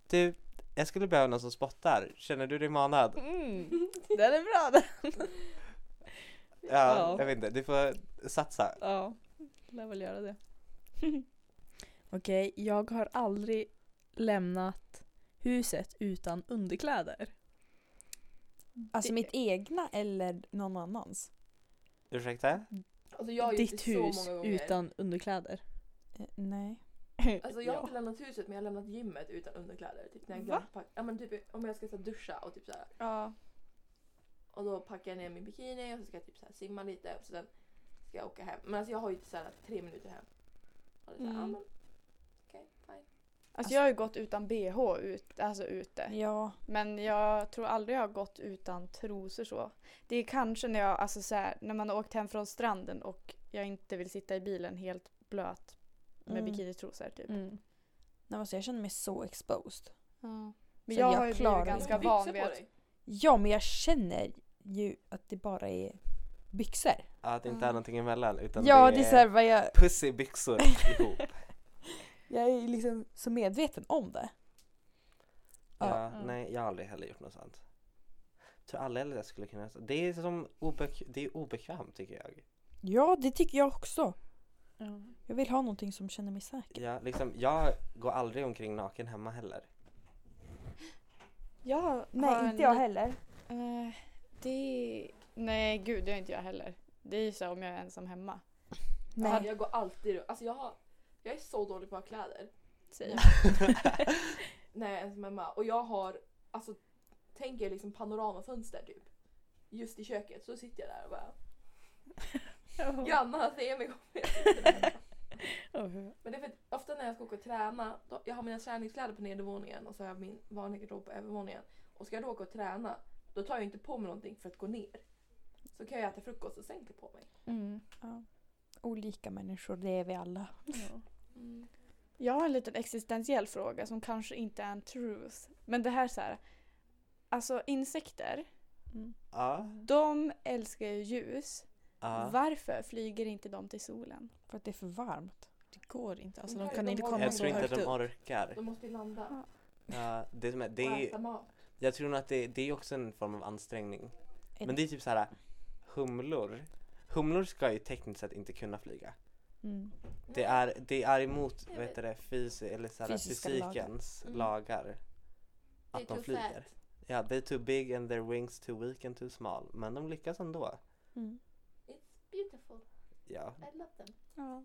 [SPEAKER 2] du, jag skulle behöva någon som spottar, känner du dig manad?
[SPEAKER 5] Mm. Den är bra den.
[SPEAKER 2] Ja,
[SPEAKER 5] Ja.
[SPEAKER 2] jag vet inte, du får satsa.
[SPEAKER 5] Ja, lär väl göra det. Okej, jag har aldrig lämnat huset utan underkläder.
[SPEAKER 1] Alltså mitt egna eller någon annans?
[SPEAKER 2] Ursäkta?
[SPEAKER 4] Alltså jag har gjort
[SPEAKER 5] Ditt
[SPEAKER 4] det så
[SPEAKER 5] hus
[SPEAKER 4] många gånger.
[SPEAKER 5] utan underkläder.
[SPEAKER 1] Eh, nej.
[SPEAKER 4] Alltså jag har
[SPEAKER 5] ja.
[SPEAKER 4] inte lämnat huset men jag har lämnat gymmet utan underkläder. Typ när jag
[SPEAKER 5] Va?
[SPEAKER 4] glömmer pack- ja, men typ om jag ska så här, duscha och typ så här.
[SPEAKER 3] Ja.
[SPEAKER 4] Och då packar jag ner min bikini och så ska jag typ så här, simma lite och så sen ska jag åka hem. Men alltså jag har ju så här, tre minuter hem. Och det är så här,
[SPEAKER 3] Mm.
[SPEAKER 4] ja, men, okej, fine.
[SPEAKER 3] Alltså jag har ju gått utan bh ut, alltså ute.
[SPEAKER 1] Ja.
[SPEAKER 3] Men jag tror aldrig jag har gått utan trosor så. Det är kanske när jag, alltså så här, när man har åkt hem från stranden och jag inte vill sitta i bilen helt blöt med
[SPEAKER 1] Mm.
[SPEAKER 3] bikinitrosor typ.
[SPEAKER 5] Mm.
[SPEAKER 1] Nej, alltså, jag känner mig så exposed.
[SPEAKER 3] Men
[SPEAKER 1] Så
[SPEAKER 3] jag,
[SPEAKER 1] jag
[SPEAKER 3] har ju
[SPEAKER 1] klarar
[SPEAKER 3] blivit
[SPEAKER 1] mig.
[SPEAKER 3] ganska
[SPEAKER 4] Du har
[SPEAKER 3] van
[SPEAKER 4] byxor
[SPEAKER 3] vid
[SPEAKER 4] på
[SPEAKER 3] att...
[SPEAKER 4] dig.
[SPEAKER 1] Ja men jag känner ju att det bara är byxor.
[SPEAKER 2] Att det inte är
[SPEAKER 3] Mm.
[SPEAKER 2] någonting emellan utan
[SPEAKER 1] Ja det är såhär vad jag,
[SPEAKER 2] pussybyxor ihop.
[SPEAKER 1] jag är liksom så medveten om det.
[SPEAKER 2] Ja,
[SPEAKER 1] Ja.
[SPEAKER 5] Mm.
[SPEAKER 2] Nej, jag har aldrig heller gjort något sånt. Tror aldrig heller jag skulle kunna. Det är, som obek- det är obekvämt tycker jag.
[SPEAKER 1] Ja det tycker jag också.
[SPEAKER 5] Ja.
[SPEAKER 1] Jag vill ha någonting som känner mig säker.
[SPEAKER 2] Jag, liksom, jag går aldrig omkring naken hemma heller.
[SPEAKER 3] Jag har en li-
[SPEAKER 1] heller.
[SPEAKER 3] Eh, det... Nej gud, det är inte jag heller. Det är ju så här om jag är ensam hemma.
[SPEAKER 4] Ja,
[SPEAKER 1] Nej.
[SPEAKER 4] Jag går alltid runt. Alltså jag, har, jag är så dålig på att ha kläder
[SPEAKER 3] Säger jag.
[SPEAKER 4] när jag är ensam hemma. Och jag har, alltså tänk er liksom panoramafönster typ. Just i köket så sitter jag där och bara grannarna ser mig.
[SPEAKER 5] Ja.
[SPEAKER 4] Men det är för att ofta när jag ska åka och träna, då, jag har mina träningskläder på nedervåningen och så har jag min vanliga garderob på övervåningen. Och ska jag då åka och träna, då tar jag inte på mig någonting för att gå ner. Så kan jag äta frukost och sen klä på mig.
[SPEAKER 5] Mm.
[SPEAKER 1] Olika människor, det är vi alla.
[SPEAKER 5] Ja.
[SPEAKER 4] Mm.
[SPEAKER 3] Jag har en liten existentiell fråga som kanske inte är en truth. Men det här så här. Alltså insekter,
[SPEAKER 2] Ja,
[SPEAKER 3] de älskar ju ljus.
[SPEAKER 2] ja.
[SPEAKER 3] Varför flyger inte de till solen?
[SPEAKER 1] För att det är för varmt. Mm.
[SPEAKER 5] Det går inte. Alltså,
[SPEAKER 4] Men
[SPEAKER 5] de
[SPEAKER 4] här-
[SPEAKER 5] kan
[SPEAKER 4] de
[SPEAKER 5] inte
[SPEAKER 4] har-
[SPEAKER 5] komma
[SPEAKER 2] Jag
[SPEAKER 5] så
[SPEAKER 2] tror inte
[SPEAKER 5] högt
[SPEAKER 2] de
[SPEAKER 5] upp.
[SPEAKER 2] orkar.
[SPEAKER 4] De måste ju landa
[SPEAKER 2] Ja, det som är, det
[SPEAKER 4] och
[SPEAKER 2] är,
[SPEAKER 4] äta mat.
[SPEAKER 2] jag tror nog att det, det är också en form av ansträngning. Men det är typ så här humlor. Humlor ska ju tekniskt sett inte kunna flyga.
[SPEAKER 1] Mm.
[SPEAKER 2] Det är, det är emot
[SPEAKER 4] Jag
[SPEAKER 2] vad
[SPEAKER 4] vet.
[SPEAKER 2] heter det, fysi, eller så här,
[SPEAKER 1] Fysiska
[SPEAKER 2] fysikens
[SPEAKER 4] lagar. Mm.
[SPEAKER 2] lagar.
[SPEAKER 4] Det är
[SPEAKER 2] Att de
[SPEAKER 4] too
[SPEAKER 2] flyger.
[SPEAKER 4] fat.
[SPEAKER 2] Ja, they're too big and their wings too weak and too small. Men de lyckas ändå.
[SPEAKER 1] Mm.
[SPEAKER 4] It's beautiful.
[SPEAKER 2] Ja.
[SPEAKER 4] I love them.
[SPEAKER 3] Ja.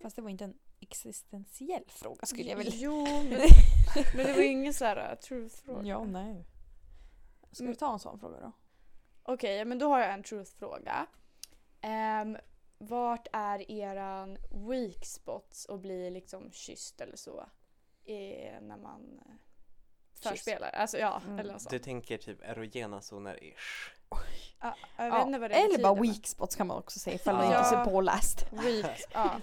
[SPEAKER 1] Fast det var inte en existentiell fråga skulle jag vilja
[SPEAKER 3] Jo, men, men det var ju ingen så här uh, truth-fråga.
[SPEAKER 1] Ja nej. Ska vi ta en sån fråga då?
[SPEAKER 3] Okej, men då har jag en truth-fråga. Ehm, vart är eran weak spots och blir liksom kysst eller så? I, när man eh, förspelar? Alltså ja,
[SPEAKER 1] Mm.
[SPEAKER 3] eller något sånt.
[SPEAKER 2] Du tänker typ erogena zoner-ish.
[SPEAKER 3] Ja, jag vet
[SPEAKER 1] Ja,
[SPEAKER 3] inte vad det
[SPEAKER 1] Eller bara
[SPEAKER 3] betyder, men-
[SPEAKER 1] weak spots kan man också säga ifall
[SPEAKER 2] Ja.
[SPEAKER 1] man inte är så påläst.
[SPEAKER 3] Weak, ja.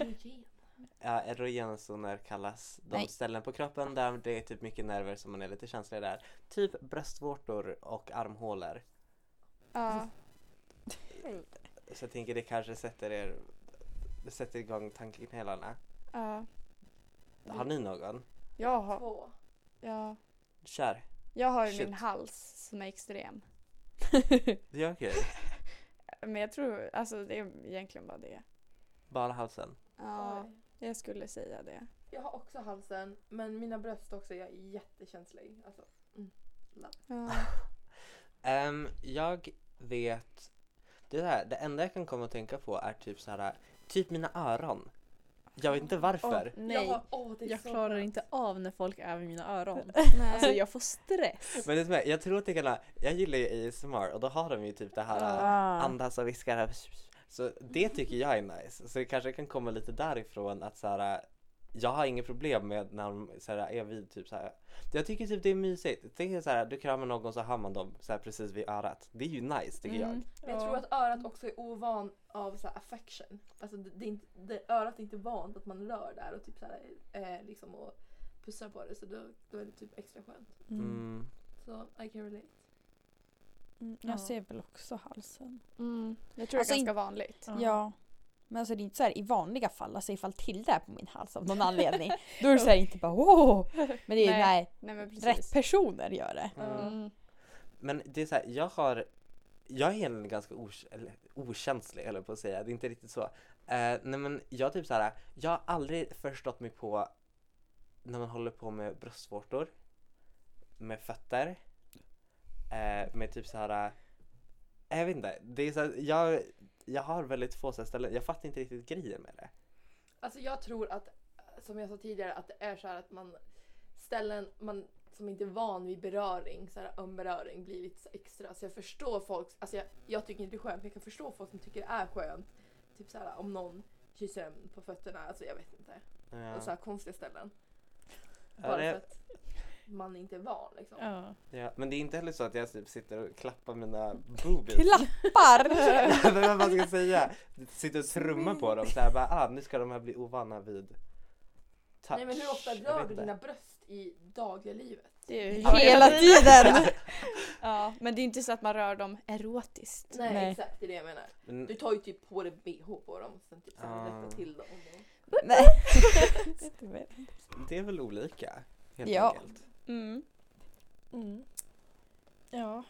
[SPEAKER 2] Ja, erogena zoner kallas de
[SPEAKER 1] Nej.
[SPEAKER 2] ställen på kroppen där det är typ mycket nerver som man är lite känslig där. Typ bröstvårtor och armhålor.
[SPEAKER 3] ja.
[SPEAKER 2] Så jag tänker det kanske sätter er det sätter igång tankeknölarna.
[SPEAKER 3] ja.
[SPEAKER 2] Har ni någon?
[SPEAKER 3] Jag har,
[SPEAKER 4] Två.
[SPEAKER 3] ja.
[SPEAKER 2] Kör!
[SPEAKER 3] Jag har ju
[SPEAKER 2] Shit.
[SPEAKER 3] min hals som är extrem.
[SPEAKER 2] Det gör kul.
[SPEAKER 3] Men jag tror, alltså det är egentligen bara det.
[SPEAKER 2] Bara halsen.
[SPEAKER 3] Ja,
[SPEAKER 4] Oj.
[SPEAKER 3] jag skulle säga det.
[SPEAKER 4] Jag har också halsen, men mina bröst också. Jag är jättekänslig. Alltså,
[SPEAKER 3] Ja.
[SPEAKER 2] Ehm, jag vet... Det, här, det enda jag kan komma att tänka på är typ så här, typ mina öron. Jag vet inte varför.
[SPEAKER 4] Jag,
[SPEAKER 5] Nej,
[SPEAKER 4] har- åh, det är
[SPEAKER 5] jag
[SPEAKER 4] så
[SPEAKER 5] klarar
[SPEAKER 4] skönt.
[SPEAKER 5] inte av när folk är vid mina öron.
[SPEAKER 3] Nej.
[SPEAKER 5] Alltså jag får stress.
[SPEAKER 2] Men det som är, jag tror att det kan ha, jag gillar ju ASMR och då har de ju typ det här äh, andas och viskar här. Så det tycker jag är nice. Så det kanske kan komma lite därifrån att så här, äh, jag har inget problem med när de så här, är vid typ så här. Jag tycker typ det är mysigt. Tänk dig så här, du kramar någon så har man dem så här precis vid örat. Det är ju nice tycker jag.
[SPEAKER 5] Mm.
[SPEAKER 4] Men jag tror att örat också är ovan av så här affection. Alltså det, det är inte, det, örat är inte vant att man rör där och typ så här, eh, liksom och pussar på det så då, då är det typ extra skönt.
[SPEAKER 1] Mm.
[SPEAKER 2] Mm.
[SPEAKER 4] Så I can relate.
[SPEAKER 1] Mm,
[SPEAKER 5] Ja.
[SPEAKER 1] jag ser väl också halsen.
[SPEAKER 3] Mm. Jag tror
[SPEAKER 1] Alltså,
[SPEAKER 3] det är ganska vanligt.
[SPEAKER 5] Ja.
[SPEAKER 1] Ja. Men alltså det är inte så här i vanliga fall, alltså ifall till det är på min hals av någon anledning. Då är det så här inte bara åh! Men det är ju
[SPEAKER 3] Nej,
[SPEAKER 1] när
[SPEAKER 3] Nej men precis.
[SPEAKER 1] rätt personer gör det.
[SPEAKER 2] Mm.
[SPEAKER 3] Mm.
[SPEAKER 2] Men det är så här, jag har jag är egentligen ganska ors- eller, okänslig höll jag på att säga, det är inte riktigt så. Eh, nej men jag typ så här, jag har aldrig förstått mig på när man håller på med bröstvårtor, med fötter, eh, med typ så här. eh, jag vet inte, det är så här, jag, jag har väldigt få så här ställen, jag fattar inte riktigt grejen med det.
[SPEAKER 4] Alltså jag tror att, som jag sa tidigare, att det är så här att man ställen man som inte är van vid beröring, så här ömberöring blir lite så extra. Så jag förstår folk, alltså jag, jag tycker inte det är skönt, men jag kan förstå folk som tycker det är skönt. Typ så här om någon kysser en på fötterna, alltså jag vet inte. Och så
[SPEAKER 2] Ja.
[SPEAKER 4] här konstiga ställen.
[SPEAKER 2] Ja,
[SPEAKER 4] Bara
[SPEAKER 2] det-
[SPEAKER 4] för att man inte är van liksom.
[SPEAKER 5] Ja.
[SPEAKER 2] Ja, men det är inte heller så att jag typ sitter och klappar mina boobies.
[SPEAKER 1] Klappar!
[SPEAKER 2] Jag vet inte vad man ska säga. Sitter och trummar på dem såhär bara ah, nu ska de här bli ovana vid touch.
[SPEAKER 4] Nej men hur ofta
[SPEAKER 2] Jag
[SPEAKER 4] rör
[SPEAKER 2] vet
[SPEAKER 4] du
[SPEAKER 2] inte.
[SPEAKER 4] dina bröst i dagliga livet?
[SPEAKER 3] Det är ju
[SPEAKER 1] Hela tiden!
[SPEAKER 3] Ja, men det är inte så att man rör dem erotiskt.
[SPEAKER 4] Nej,
[SPEAKER 1] Nej.
[SPEAKER 4] exakt det är det jag menar.
[SPEAKER 2] Men,
[SPEAKER 4] Du tar ju typ på dig bh på dem sen typ så
[SPEAKER 2] Ah.
[SPEAKER 4] här rättar till dem. och-
[SPEAKER 1] Nej.
[SPEAKER 2] det är väl olika? Helt
[SPEAKER 1] Ja.
[SPEAKER 2] enkelt.
[SPEAKER 3] Mm.
[SPEAKER 5] Mm. Ja,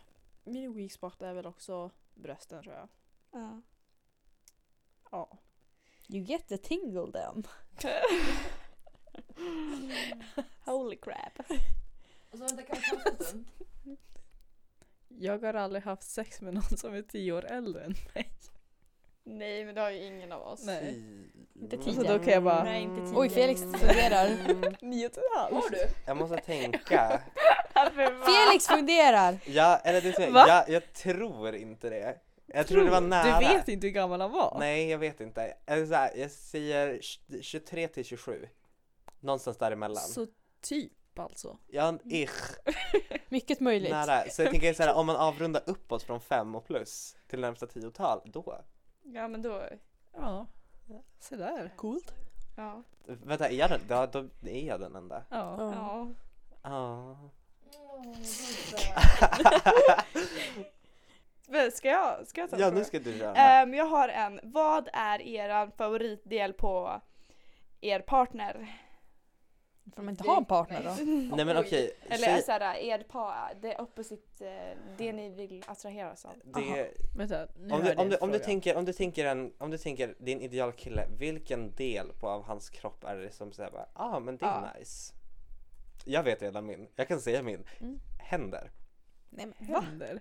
[SPEAKER 5] min weak spot är väl också brösten tror jag.
[SPEAKER 3] Ja.
[SPEAKER 5] Ja.
[SPEAKER 1] You get the tingle then.
[SPEAKER 3] Holy crap.
[SPEAKER 4] Och så vänta, kan vi ta en stund?
[SPEAKER 5] Jag har aldrig haft sex med någon som är tio år äldre än mig.
[SPEAKER 3] Nej, men det har ju ingen av oss.
[SPEAKER 5] Nej.
[SPEAKER 1] Inte
[SPEAKER 2] Mm.
[SPEAKER 1] tio.
[SPEAKER 5] Så då kan jag bara-
[SPEAKER 3] Nej, inte tio.
[SPEAKER 1] Oj Felix funderar.
[SPEAKER 2] Mm.
[SPEAKER 5] Nio och en halv.
[SPEAKER 4] Har du?
[SPEAKER 2] Jag måste tänka.
[SPEAKER 1] Felix funderar!
[SPEAKER 2] Ja, eller det är
[SPEAKER 5] Va?
[SPEAKER 2] jag, jag tror inte det. Jag tror, det var nära.
[SPEAKER 5] Du vet inte hur gammal han var.
[SPEAKER 2] Nej, jag vet inte. Eller så här, jag säger 23 till 27. Någonstans däremellan.
[SPEAKER 5] Så typ alltså.
[SPEAKER 2] Ja, ich.
[SPEAKER 1] Mycket möjligt.
[SPEAKER 2] Nära. Så jag tänker så här, om man avrundar uppåt från fem och plus till närmsta tiotal, då.
[SPEAKER 3] Ja, men då...
[SPEAKER 5] Ja. Se där. Coolt.
[SPEAKER 3] Ja.
[SPEAKER 2] Vänta, är jag den? Ja, då är jag den enda.
[SPEAKER 5] Ja.
[SPEAKER 1] Ja.
[SPEAKER 3] ja.
[SPEAKER 2] Ja.
[SPEAKER 4] Åh, gud,
[SPEAKER 3] Men Ska jag, ska jag ta en
[SPEAKER 2] Ja,
[SPEAKER 3] fråga?
[SPEAKER 2] nu ska du köra.
[SPEAKER 1] Eh,
[SPEAKER 3] Ehm, jag har en. Vad är er favoritdel på er partner?
[SPEAKER 1] Får man inte ha en partner då?
[SPEAKER 2] Nej men
[SPEAKER 4] oj.
[SPEAKER 2] okej.
[SPEAKER 3] Eller
[SPEAKER 2] tjej-
[SPEAKER 1] alltså,
[SPEAKER 3] såhär, er par, det opposite, eh, det ni vill attraheras av.
[SPEAKER 1] Aha.
[SPEAKER 2] det,
[SPEAKER 5] Vänta, nu
[SPEAKER 2] om, du, om, du, om, du
[SPEAKER 5] tänker
[SPEAKER 2] tänker, om, du tänker en, om du tänker din idealkille, vilken del på, av hans kropp är det som säger bara ah men det är
[SPEAKER 3] Ja.
[SPEAKER 2] nice. Jag vet redan min, jag kan säga min.
[SPEAKER 1] Mm.
[SPEAKER 2] Händer.
[SPEAKER 1] Nej, men,
[SPEAKER 5] händer.
[SPEAKER 2] Eh,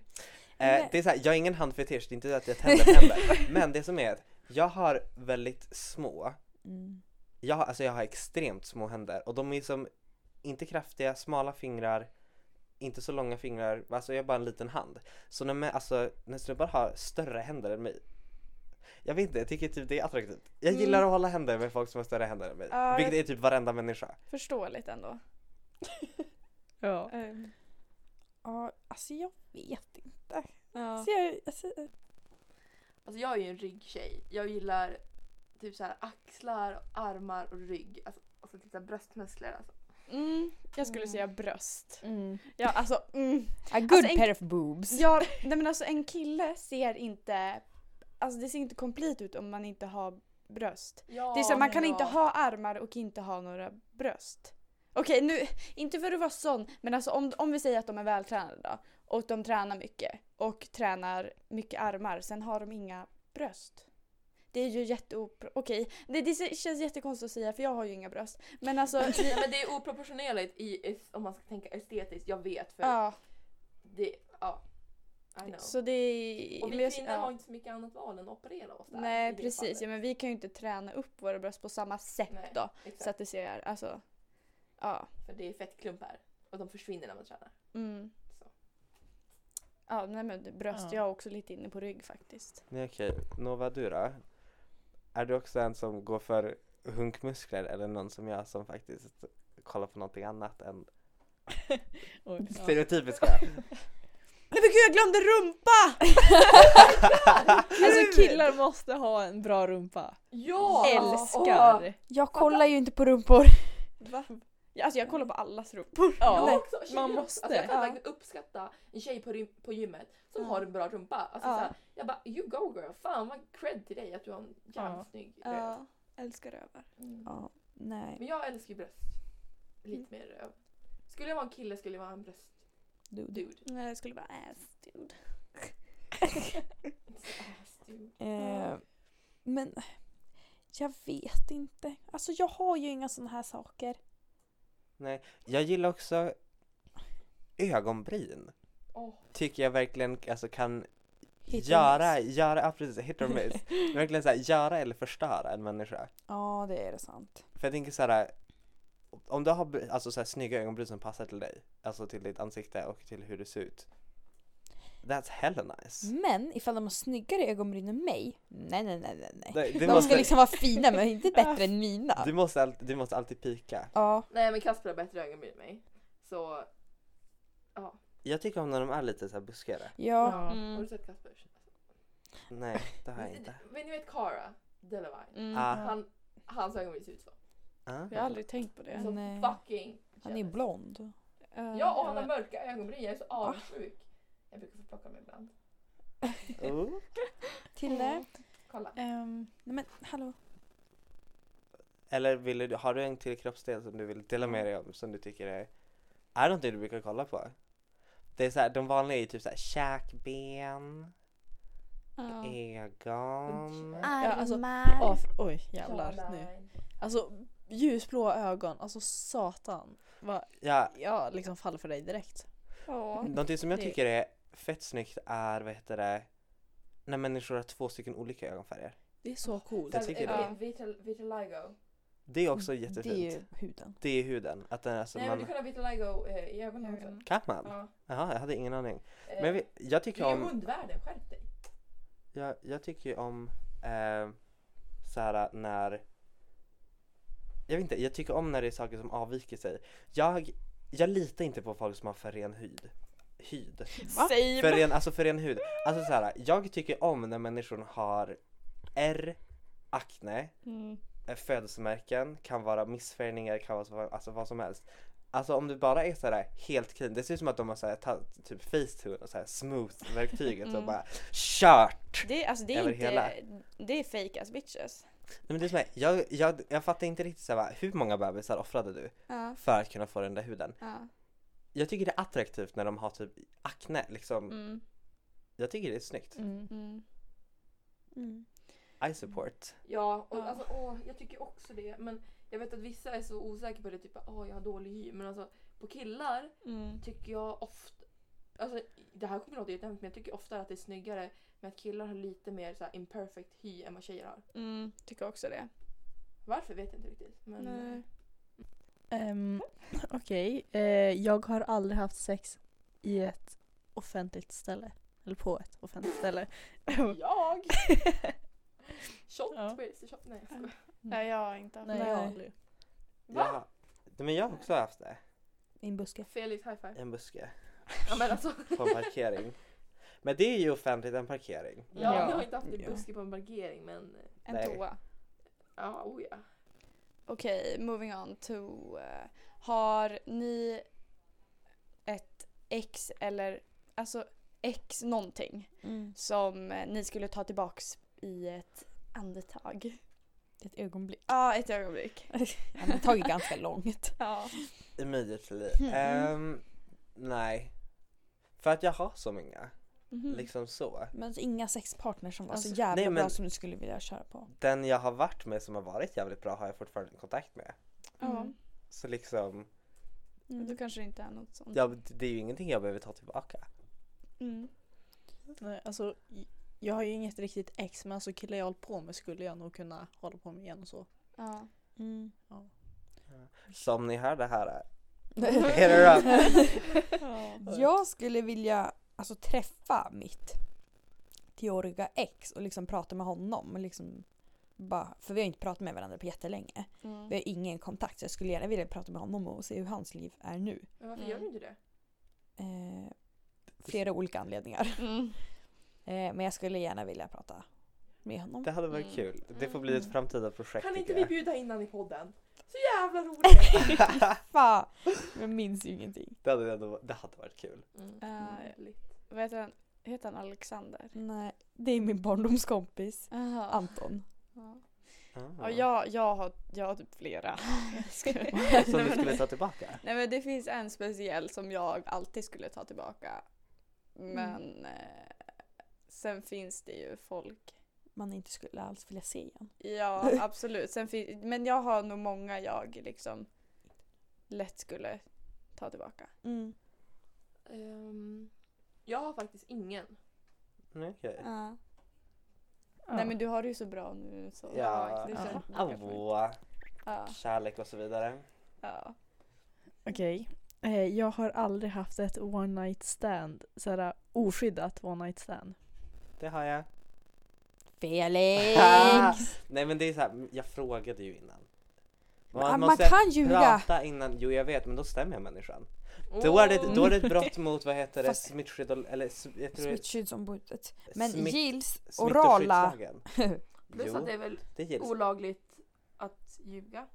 [SPEAKER 1] Nej.
[SPEAKER 2] det är så här, jag är ingen handfetisch, det är inte det att jag tänder händer. Men det som är att jag har väldigt små,
[SPEAKER 1] Mm.
[SPEAKER 2] jag, har- alltså jag har extremt små händer och de är som inte kraftiga, smala fingrar, inte så långa fingrar, alltså jag är bara en liten hand. Så när, man, alltså, när snubbar har större händer än mig, jag vet inte, jag tycker typ det är attraktivt. Jag
[SPEAKER 3] Mm.
[SPEAKER 2] gillar att hålla händer med folk som har större händer än mig,
[SPEAKER 3] Ja,
[SPEAKER 2] vilket är typ varenda människa.
[SPEAKER 3] Förståeligt ändå.
[SPEAKER 5] Ja.
[SPEAKER 3] Ehm,
[SPEAKER 1] Ja, alltså jag vet inte.
[SPEAKER 3] ja.
[SPEAKER 1] Så jag, alltså,
[SPEAKER 4] Alltså jag är ju en ryggtjej. Jag gillar typ så här axlar, armar och rygg. Alltså, alltså typ så här bröstmuskler. Alltså.
[SPEAKER 3] Mm, jag skulle
[SPEAKER 1] Mm.
[SPEAKER 3] säga bröst.
[SPEAKER 5] Mm.
[SPEAKER 3] Ja, alltså, mm.
[SPEAKER 1] a good
[SPEAKER 3] Alltså, en-
[SPEAKER 1] pair of boobs.
[SPEAKER 3] ja, nej, men alltså en kille ser inte, alltså det ser inte komplett ut om man inte har bröst. det är så, här, man kan inte ha armar och inte ha några bröst. Okej, nu, inte för att vara sån, men alltså om, om vi säger att de är vältränade då, och de tränar mycket och tränar mycket armar, sen har de inga bröst. Det är ju jätteopro... Okej, det, det känns jättekonstigt att säga för jag har ju inga bröst. Men alltså...
[SPEAKER 4] Nej, men det är oproportionerligt i, om man ska tänka estetiskt. Jag vet för
[SPEAKER 3] ja.
[SPEAKER 4] det, ja. I know.
[SPEAKER 3] Så det är...
[SPEAKER 4] och vi
[SPEAKER 3] men jag-
[SPEAKER 4] kvinnor
[SPEAKER 3] ja.
[SPEAKER 4] har inte så mycket annat val än att operera oss där. i
[SPEAKER 3] Nej
[SPEAKER 4] det
[SPEAKER 3] precis, ja,
[SPEAKER 4] fallet.
[SPEAKER 3] men vi kan ju inte träna upp våra bröst på samma sätt
[SPEAKER 4] Nej,
[SPEAKER 3] då.
[SPEAKER 4] Exakt,
[SPEAKER 3] Så att det ser, alltså. Ja.
[SPEAKER 4] för det är fettklumpar och de försvinner när man tränar.
[SPEAKER 3] Mm.
[SPEAKER 4] Så.
[SPEAKER 3] Ja, nej men bröst.
[SPEAKER 5] Ja.
[SPEAKER 3] Jag är också lite inne på rygg faktiskt.
[SPEAKER 2] Nej okej, Nova du då? Är du också en som går för hunkmuskler eller någon som jag som faktiskt kollar på någonting annat än
[SPEAKER 5] Oj, ja.
[SPEAKER 2] stereotypiska?
[SPEAKER 3] Nej men gud jag glömde rumpa!
[SPEAKER 5] Alltså killar måste ha en bra rumpa.
[SPEAKER 4] Ja!
[SPEAKER 5] Älskar!
[SPEAKER 1] Jag kollar ju inte på rumpor.
[SPEAKER 3] Va? Ja, alltså jag kollar på allas rumpor.
[SPEAKER 4] Jag
[SPEAKER 5] Ja.
[SPEAKER 4] också, tjejer
[SPEAKER 5] man
[SPEAKER 4] också.
[SPEAKER 5] måste.
[SPEAKER 4] Alltså jag kan
[SPEAKER 3] Ja.
[SPEAKER 4] verkligen uppskatta en tjej på, rym- på gymmet som
[SPEAKER 5] Ja.
[SPEAKER 4] har en bra rumpa. Alltså,
[SPEAKER 3] Ja.
[SPEAKER 4] såhär, jag bara, you go girl. Fan vad cred till dig att du har en jävligt
[SPEAKER 5] Ja.
[SPEAKER 4] snygg röv.
[SPEAKER 3] Ja, älskar rövar.
[SPEAKER 4] Mm.
[SPEAKER 1] Ja, nej.
[SPEAKER 4] Men jag älskar ju bröst. Lite mer röv. Skulle jag vara en kille skulle jag vara en bröstdude.
[SPEAKER 1] Dude.
[SPEAKER 3] Nej, jag skulle vara ass dude.
[SPEAKER 4] Ass-dude.
[SPEAKER 1] Eh, men jag vet inte. Alltså jag har ju inga sådana här saker.
[SPEAKER 2] Jag gillar också ögonbryn.
[SPEAKER 4] Åh.
[SPEAKER 2] Tycker jag verkligen alltså, kan
[SPEAKER 1] Hit and
[SPEAKER 2] göra,
[SPEAKER 1] miss.
[SPEAKER 2] göra, ja precis, hit or miss. verkligen så här, göra eller förstöra en människa.
[SPEAKER 1] Ja, det är det sant.
[SPEAKER 2] För jag tänker så här, om du har br- alltså, så här, snygga ögonbryn som passar till dig, alltså till ditt ansikte och till hur du ser ut. That's hella nice.
[SPEAKER 1] Men ifall de har snyggare ögonbryn än mig, nej nej nej nej. nej.
[SPEAKER 2] Det,
[SPEAKER 1] De
[SPEAKER 2] det måste,
[SPEAKER 1] ska liksom vara fina men inte bättre än mina.
[SPEAKER 2] du, måste alltid, du måste alltid pika.
[SPEAKER 1] Ja,
[SPEAKER 4] Nej men Kasper har bättre ögonbryn än mig. Så
[SPEAKER 2] Jag tycker om när de är lite så här buskigare.
[SPEAKER 1] ja.
[SPEAKER 4] har
[SPEAKER 3] Mm.
[SPEAKER 4] du sett Kaspers?
[SPEAKER 2] Nej, det har jag inte.
[SPEAKER 4] Men ni vet Cara Delevingne?
[SPEAKER 3] Mm.
[SPEAKER 2] Ah.
[SPEAKER 4] Han, hans ögonbryn ser ut så.
[SPEAKER 2] Ah.
[SPEAKER 3] Jag har aldrig tänkt på det.
[SPEAKER 4] Så
[SPEAKER 1] Nej.
[SPEAKER 4] fucking
[SPEAKER 1] Han är ju
[SPEAKER 4] jealous.
[SPEAKER 1] blond.
[SPEAKER 4] Ja Ah. och han har mörka ögonbryn. Jag är så avundsjuk. Jag brukar få plocka mig ibland.
[SPEAKER 2] Oh.
[SPEAKER 1] Tille?
[SPEAKER 4] Kolla.
[SPEAKER 1] ehm, Nej men hallå.
[SPEAKER 2] Eller vill du, har du en till kroppsdel som du vill dela med dig om som du tycker är, är någonting du brukar kolla på? Det är så här, de vanliga är ju typ så här käkben,
[SPEAKER 3] Ja.
[SPEAKER 2] ögon.
[SPEAKER 5] Ja, alltså, ja, för- oj jävlar nu.
[SPEAKER 4] Caroline.
[SPEAKER 5] Alltså ljusblå ögon, alltså satan. Va,
[SPEAKER 2] Ja,
[SPEAKER 5] jag liksom faller för dig direkt.
[SPEAKER 3] Ja.
[SPEAKER 2] någonting som jag
[SPEAKER 5] Det-
[SPEAKER 2] tycker är fett snyggt är, vad heter det, när människor har två stycken olika ögonfärger.
[SPEAKER 5] Det är så coolt.
[SPEAKER 2] Jag tycker
[SPEAKER 4] Sen,
[SPEAKER 3] det.
[SPEAKER 4] eh, vitil- Vitiligo.
[SPEAKER 2] Det är
[SPEAKER 5] Mm,
[SPEAKER 2] också
[SPEAKER 1] Det är ju
[SPEAKER 2] jättefint.
[SPEAKER 1] huden.
[SPEAKER 2] Det är huden, att den, alltså,
[SPEAKER 4] Nej men du
[SPEAKER 2] man,
[SPEAKER 4] kan ha vitiligo eh, i ögonen också.
[SPEAKER 5] Ögonen.
[SPEAKER 2] kan man?
[SPEAKER 4] Ja.
[SPEAKER 2] Jaha, jag hade ingen aning.
[SPEAKER 4] Eh,
[SPEAKER 2] Men jag, vet- jag
[SPEAKER 4] Du
[SPEAKER 2] tycker
[SPEAKER 4] är
[SPEAKER 2] om...
[SPEAKER 4] ju hundvärden, skärp dig.
[SPEAKER 2] Jag, jag tycker ju om eh, så här när jag vet inte, jag tycker om när det är saker som avviker sig. Jag, jag litar inte på folk som har för ren hud. Hud.
[SPEAKER 5] Same!
[SPEAKER 2] För ren, alltså för ren hud. Alltså så här, jag tycker om när människor har R, akne,
[SPEAKER 3] Mm.
[SPEAKER 2] eh, födelsemärken, kan vara missfärgningar, kan vara så- alltså vad som helst. Alltså om du bara är sådär helt clean, det ser ut som att de har såhär, tagit typ facetune och såhär smooth-verktyget och
[SPEAKER 3] Mm.
[SPEAKER 2] bara kört!
[SPEAKER 3] Det, är- alltså, det är
[SPEAKER 2] Över
[SPEAKER 3] inte...
[SPEAKER 2] hela.
[SPEAKER 3] Det är fake ass bitches.
[SPEAKER 2] Nej, men det är som är, jag, jag, jag fattar inte riktigt så här, hur många bebisar offrade du
[SPEAKER 3] Ja.
[SPEAKER 2] för att kunna få den där huden?
[SPEAKER 3] ja.
[SPEAKER 2] Jag tycker det är attraktivt när de har typ akne liksom.
[SPEAKER 3] Mm.
[SPEAKER 2] Jag tycker det är snyggt.
[SPEAKER 5] Mm.
[SPEAKER 3] Mm.
[SPEAKER 1] Mm.
[SPEAKER 2] I support.
[SPEAKER 4] Ja, och
[SPEAKER 3] Ja.
[SPEAKER 4] Alltså, åh, jag tycker också det. Men jag vet att vissa är så osäkra på det, typ åh jag har dålig hy. Men alltså på killar
[SPEAKER 3] Mm.
[SPEAKER 4] tycker jag ofta, alltså det här kommer låta jättehemskt men jag tycker ofta att det är snyggare med att killar har lite mer så här, imperfect hy än vad tjejer har.
[SPEAKER 3] Mm. Tycker också det.
[SPEAKER 4] Varför vet jag inte riktigt. Men
[SPEAKER 3] Nej.
[SPEAKER 5] Ehm, Okej, eh, jag har aldrig haft sex i ett offentligt ställe. Eller på ett offentligt ställe.
[SPEAKER 4] jag! Shot,
[SPEAKER 5] Ja.
[SPEAKER 4] twist, shot, nej jag skojar.
[SPEAKER 3] Nej, jag har inte haft
[SPEAKER 5] Nej,
[SPEAKER 1] Nej.
[SPEAKER 5] jag har aldrig.
[SPEAKER 4] Va?
[SPEAKER 2] Jag, nej, men jag har också haft det.
[SPEAKER 1] I en buske.
[SPEAKER 4] Felix high five.
[SPEAKER 2] I en buske.
[SPEAKER 4] Ja men alltså.
[SPEAKER 2] På en parkering. men det är ju offentligt en parkering.
[SPEAKER 4] Ja,
[SPEAKER 5] Ja.
[SPEAKER 4] Jag har inte haft en
[SPEAKER 1] Ja.
[SPEAKER 4] buske på en parkering men eh,
[SPEAKER 3] en
[SPEAKER 2] Nej.
[SPEAKER 3] toa.
[SPEAKER 4] ja, oh ja.
[SPEAKER 3] Okej, moving on to... eh, har ni ett ex eller alltså ex någonting
[SPEAKER 1] Mm.
[SPEAKER 3] som eh, ni skulle ta tillbaks i ett andetag? Ja,
[SPEAKER 1] Ett ögonblick.
[SPEAKER 3] ett ögonblick.
[SPEAKER 1] Ja, men tagit ganska långt.
[SPEAKER 3] Ja.
[SPEAKER 2] Immediately.
[SPEAKER 1] Mm.
[SPEAKER 2] Ehm, nej. För att jag har så många.
[SPEAKER 3] Mhm.
[SPEAKER 2] Liksom så.
[SPEAKER 1] Men inga sexpartners som var så
[SPEAKER 3] Alltså,
[SPEAKER 1] jävla
[SPEAKER 2] nej, men-
[SPEAKER 1] bra som du skulle vilja köra på.
[SPEAKER 2] Den jag har varit med som har varit jävligt bra har jag fortfarande kontakt med.
[SPEAKER 3] ja. Mm.
[SPEAKER 1] Mm.
[SPEAKER 2] Så liksom,
[SPEAKER 3] Då kanske det inte är något sånt.
[SPEAKER 2] ja, det är ju ingenting jag behöver ta tillbaka.
[SPEAKER 3] Mm.
[SPEAKER 5] Nej, alltså, j- jag har ju inget riktigt ex men alltså killar jag håller på med skulle jag nog kunna hålla på med igen och så.
[SPEAKER 3] Ja.
[SPEAKER 1] Mm.
[SPEAKER 2] Som ni hörde här, hit her up.
[SPEAKER 1] Mm. Jag skulle vilja alltså, träffa mitt teoriga ex och liksom prata med honom. Och liksom bara, för vi har inte pratat med varandra på jättelänge.
[SPEAKER 3] Mm.
[SPEAKER 1] Vi har ingen kontakt så jag skulle gärna vilja prata med honom och se hur hans liv är nu.
[SPEAKER 4] Men varför
[SPEAKER 3] Mm.
[SPEAKER 4] gör du inte det?
[SPEAKER 1] Eh, flera olika anledningar.
[SPEAKER 3] Mm.
[SPEAKER 1] Eh, men jag skulle gärna vilja prata med honom.
[SPEAKER 2] Det hade varit
[SPEAKER 3] Mm.
[SPEAKER 2] kul. Det får bli ett framtida projekt
[SPEAKER 4] Kan inte
[SPEAKER 2] tycker
[SPEAKER 4] vi
[SPEAKER 2] jag.
[SPEAKER 4] bjuda in han i podden? Så jävla roligt!
[SPEAKER 1] Fan, jag minns ju ingenting.
[SPEAKER 2] Det hade, ändå, det hade varit kul.
[SPEAKER 4] Mm.
[SPEAKER 3] Ja,
[SPEAKER 4] Roligt.
[SPEAKER 3] Vad heter han? Heter han Alexander?
[SPEAKER 1] Nej, det är min barndomskompis
[SPEAKER 3] Jaha.
[SPEAKER 1] Anton.
[SPEAKER 3] Ja.
[SPEAKER 2] Ah.
[SPEAKER 3] Ja, jag, jag, har, jag har typ flera. Jag skojar.
[SPEAKER 2] Som
[SPEAKER 3] Nej,
[SPEAKER 2] vi
[SPEAKER 3] men-
[SPEAKER 2] skulle ta tillbaka.
[SPEAKER 3] Nej men det finns en speciell som jag alltid skulle ta tillbaka. Men eh, sen finns det ju folk.
[SPEAKER 1] Man inte skulle alls vilja se igen.
[SPEAKER 3] Ja absolut. Sen fin- men jag har nog många jag liksom lätt skulle ta tillbaka.
[SPEAKER 1] Mm.
[SPEAKER 4] Ehm, jag har faktiskt ingen.
[SPEAKER 2] Mm, okej.
[SPEAKER 3] Nej men du har det ju så bra nu så.
[SPEAKER 2] Ja. Ah.
[SPEAKER 3] Det känns-
[SPEAKER 2] Åh,
[SPEAKER 3] ja.
[SPEAKER 2] kärlek och så vidare.
[SPEAKER 3] ja.
[SPEAKER 5] Okej. Eh, Jag har aldrig haft ett one night stand, såhär oskyddat one night stand.
[SPEAKER 2] Det har jag.
[SPEAKER 1] Felix!
[SPEAKER 2] Nej men det är så här, jag frågade ju innan.
[SPEAKER 1] Ah, Man, man, kan ljuga!
[SPEAKER 2] prata innan, jo jag vet men då stämmer jag människan. Då, är det, då är det
[SPEAKER 1] Mm.
[SPEAKER 2] ett brott mot vad heter det,
[SPEAKER 1] Fast-
[SPEAKER 2] smittskydd och- eller s- jag tror det är
[SPEAKER 1] Smittskyddsombudet. Men
[SPEAKER 2] smitt-
[SPEAKER 1] gills orala...
[SPEAKER 2] smittskyddslagen.
[SPEAKER 4] Plus
[SPEAKER 2] Jo,
[SPEAKER 4] Mm. att det är väl
[SPEAKER 2] det gills.
[SPEAKER 4] olagligt att ljuga?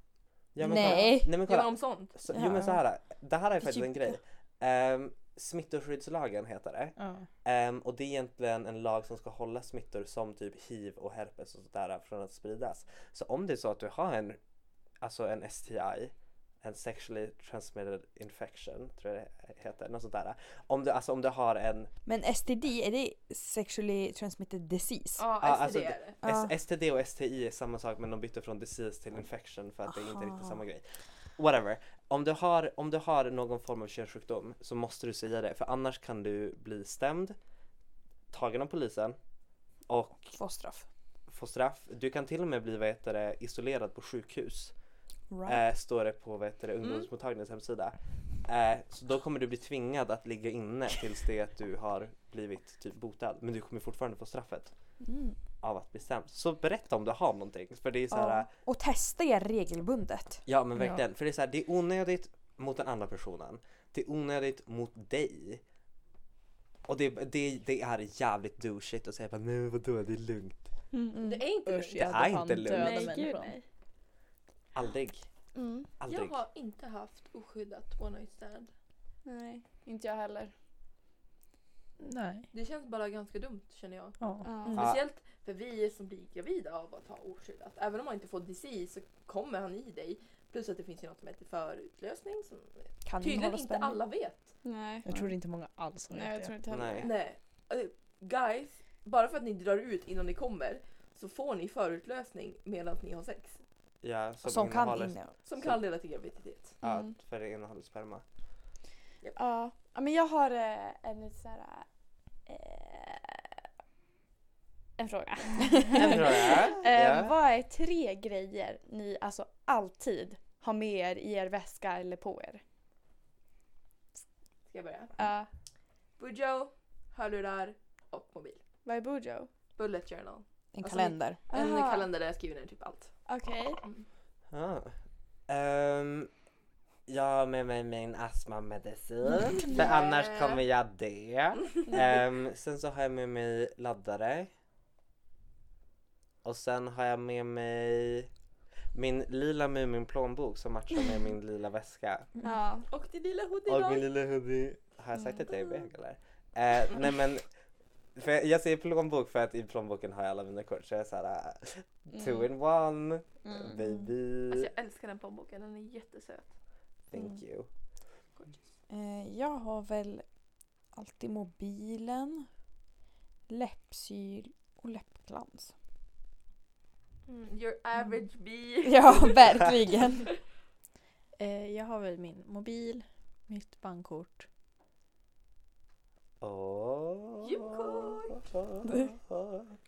[SPEAKER 2] Ja, men
[SPEAKER 1] Nej.
[SPEAKER 2] kolla. Nej men
[SPEAKER 4] Ja, men
[SPEAKER 2] kolla.
[SPEAKER 4] om sånt.
[SPEAKER 2] Så, jo men så här, det här är faktiskt en
[SPEAKER 1] Djup.
[SPEAKER 2] grej. Um, smittskyddslagen heter det.
[SPEAKER 5] Ja.
[SPEAKER 2] Ehm, och det är egentligen en lag som ska hålla smittor som typ hiv och herpes och sådär eh, från att spridas. Så om det är så att du har en, alltså en STI, en sexually transmitted infection tror jag det heter, något sånt där. Om du, alltså om du har en,
[SPEAKER 1] Men STD, är det sexually transmitted disease? Ah,
[SPEAKER 4] Ja,
[SPEAKER 2] Ja,
[SPEAKER 4] SD
[SPEAKER 2] alltså
[SPEAKER 4] är
[SPEAKER 2] det-
[SPEAKER 4] det.
[SPEAKER 1] Ja.
[SPEAKER 2] S- STD och STI är samma sak men de bytte från disease till infection för att det är inte
[SPEAKER 1] Aha.
[SPEAKER 2] riktigt samma grej. Whatever. Om du, har, om du har någon form av könssjukdom så måste du säga det för annars kan du bli stämd, tagen av polisen och
[SPEAKER 1] Få straff.
[SPEAKER 2] få straff. Du kan till och med bli vad heter det, isolerad på sjukhus.
[SPEAKER 1] Right. Mm.
[SPEAKER 2] Eh, står det på vad heter det, ungdomsmottagningens hemsida. Eh, så då kommer du bli tvingad att ligga inne tills det att du har blivit typ botad. Men du kommer fortfarande få straffet
[SPEAKER 1] Mm.
[SPEAKER 2] av att bli stämd. Så berätta om du har någonting. För det är så här, eh,
[SPEAKER 1] Ja.
[SPEAKER 2] ja.
[SPEAKER 1] Och testa er regelbundet.
[SPEAKER 2] men verkligen. För det är så här, det är onödigt mot den andra personen. Det är onödigt mot dig. Och det, det, det är jävligt douchigt att säga bara, nej men vadå det är lugnt.
[SPEAKER 4] Det är inte
[SPEAKER 5] Usch,
[SPEAKER 4] lugnt.
[SPEAKER 5] jag
[SPEAKER 2] är
[SPEAKER 5] hade fan
[SPEAKER 2] inte lugnt.
[SPEAKER 5] dödat
[SPEAKER 3] Nej gud
[SPEAKER 5] människan.
[SPEAKER 3] nej.
[SPEAKER 2] Aldrig.
[SPEAKER 3] Mm.
[SPEAKER 2] Aldrig.
[SPEAKER 4] Jag har inte haft oskyddat one night stand.
[SPEAKER 3] Nej. Inte jag heller.
[SPEAKER 5] Nej.
[SPEAKER 4] Det känns bara ganska dumt känner jag.
[SPEAKER 5] Ja.
[SPEAKER 3] Ja.
[SPEAKER 1] Mm.
[SPEAKER 4] Speciellt för vi som blir gravida av att ha oskyddat. Även om man inte får disease så kommer han i dig. Plus att det finns ju något som heter förutlösning som
[SPEAKER 1] Kan
[SPEAKER 4] tydligen
[SPEAKER 1] hålla
[SPEAKER 4] inte
[SPEAKER 1] spänning.
[SPEAKER 4] alla vet.
[SPEAKER 3] Nej.
[SPEAKER 5] Jag tror det är inte många alls som
[SPEAKER 3] Nej jag
[SPEAKER 5] vet
[SPEAKER 3] tror
[SPEAKER 5] det.
[SPEAKER 3] inte heller
[SPEAKER 2] Nej.
[SPEAKER 4] Nej. Eh, Guys, bara för att ni drar ut innan ni kommer så får ni förutlösning medan ni har sex.
[SPEAKER 2] Ja,
[SPEAKER 1] Som,
[SPEAKER 2] som,
[SPEAKER 1] kan
[SPEAKER 2] innehåller-
[SPEAKER 1] inne.
[SPEAKER 4] Som
[SPEAKER 2] Så-
[SPEAKER 4] kan leda till graviditet.
[SPEAKER 2] Ja,
[SPEAKER 3] Mm.
[SPEAKER 2] för det innehåller sperma.
[SPEAKER 3] Ja, ja, men jag har eh, en lite så här... Eh, en fråga.
[SPEAKER 2] En fråga.
[SPEAKER 3] eh,
[SPEAKER 2] Ja.
[SPEAKER 3] vad är tre grejer ni alltså alltid har med er i er väska eller på er?
[SPEAKER 4] Ska jag börja?
[SPEAKER 3] Ja,
[SPEAKER 4] Bujo, hörlurar och mobil.
[SPEAKER 3] vad är Bojo?
[SPEAKER 4] Bullet journal.
[SPEAKER 1] En
[SPEAKER 4] Alltså,
[SPEAKER 1] kalender.
[SPEAKER 4] En
[SPEAKER 3] Aha.
[SPEAKER 4] kalender där jag skriver ner typ allt.
[SPEAKER 3] Okej.
[SPEAKER 4] Mm.
[SPEAKER 2] Ja. Ehm, jag har med mig min
[SPEAKER 3] Mm.
[SPEAKER 2] astmamedicin. För
[SPEAKER 4] Yeah.
[SPEAKER 2] annars kommer jag dö. Ehm, sen så har jag med mig laddare. Och sen har jag med mig min lila Mumin-plånbok som matchar med min lila väska.
[SPEAKER 3] Ja.
[SPEAKER 4] Och din lilla hoodie
[SPEAKER 2] Och min
[SPEAKER 4] idag.
[SPEAKER 2] lilla hoodie. Har jag sagt att jag är bög eller? Eh, nej men. För jag, jag säger plånbok för att i plånboken har jag alla mina kort. Så jag är såhär. Uh, two in one.
[SPEAKER 1] Mm.
[SPEAKER 2] Baby.
[SPEAKER 4] Alltså jag älskar den plånboken, den är jättesöt.
[SPEAKER 2] Thank you.
[SPEAKER 1] Eh, jag har väl alltid mobilen, läppsyl och läppglans.
[SPEAKER 4] Mm, your average bee.
[SPEAKER 1] Ja, verkligen.
[SPEAKER 5] Eh, jag har väl min mobil, mitt bankkort
[SPEAKER 2] Åh.
[SPEAKER 4] Julkort.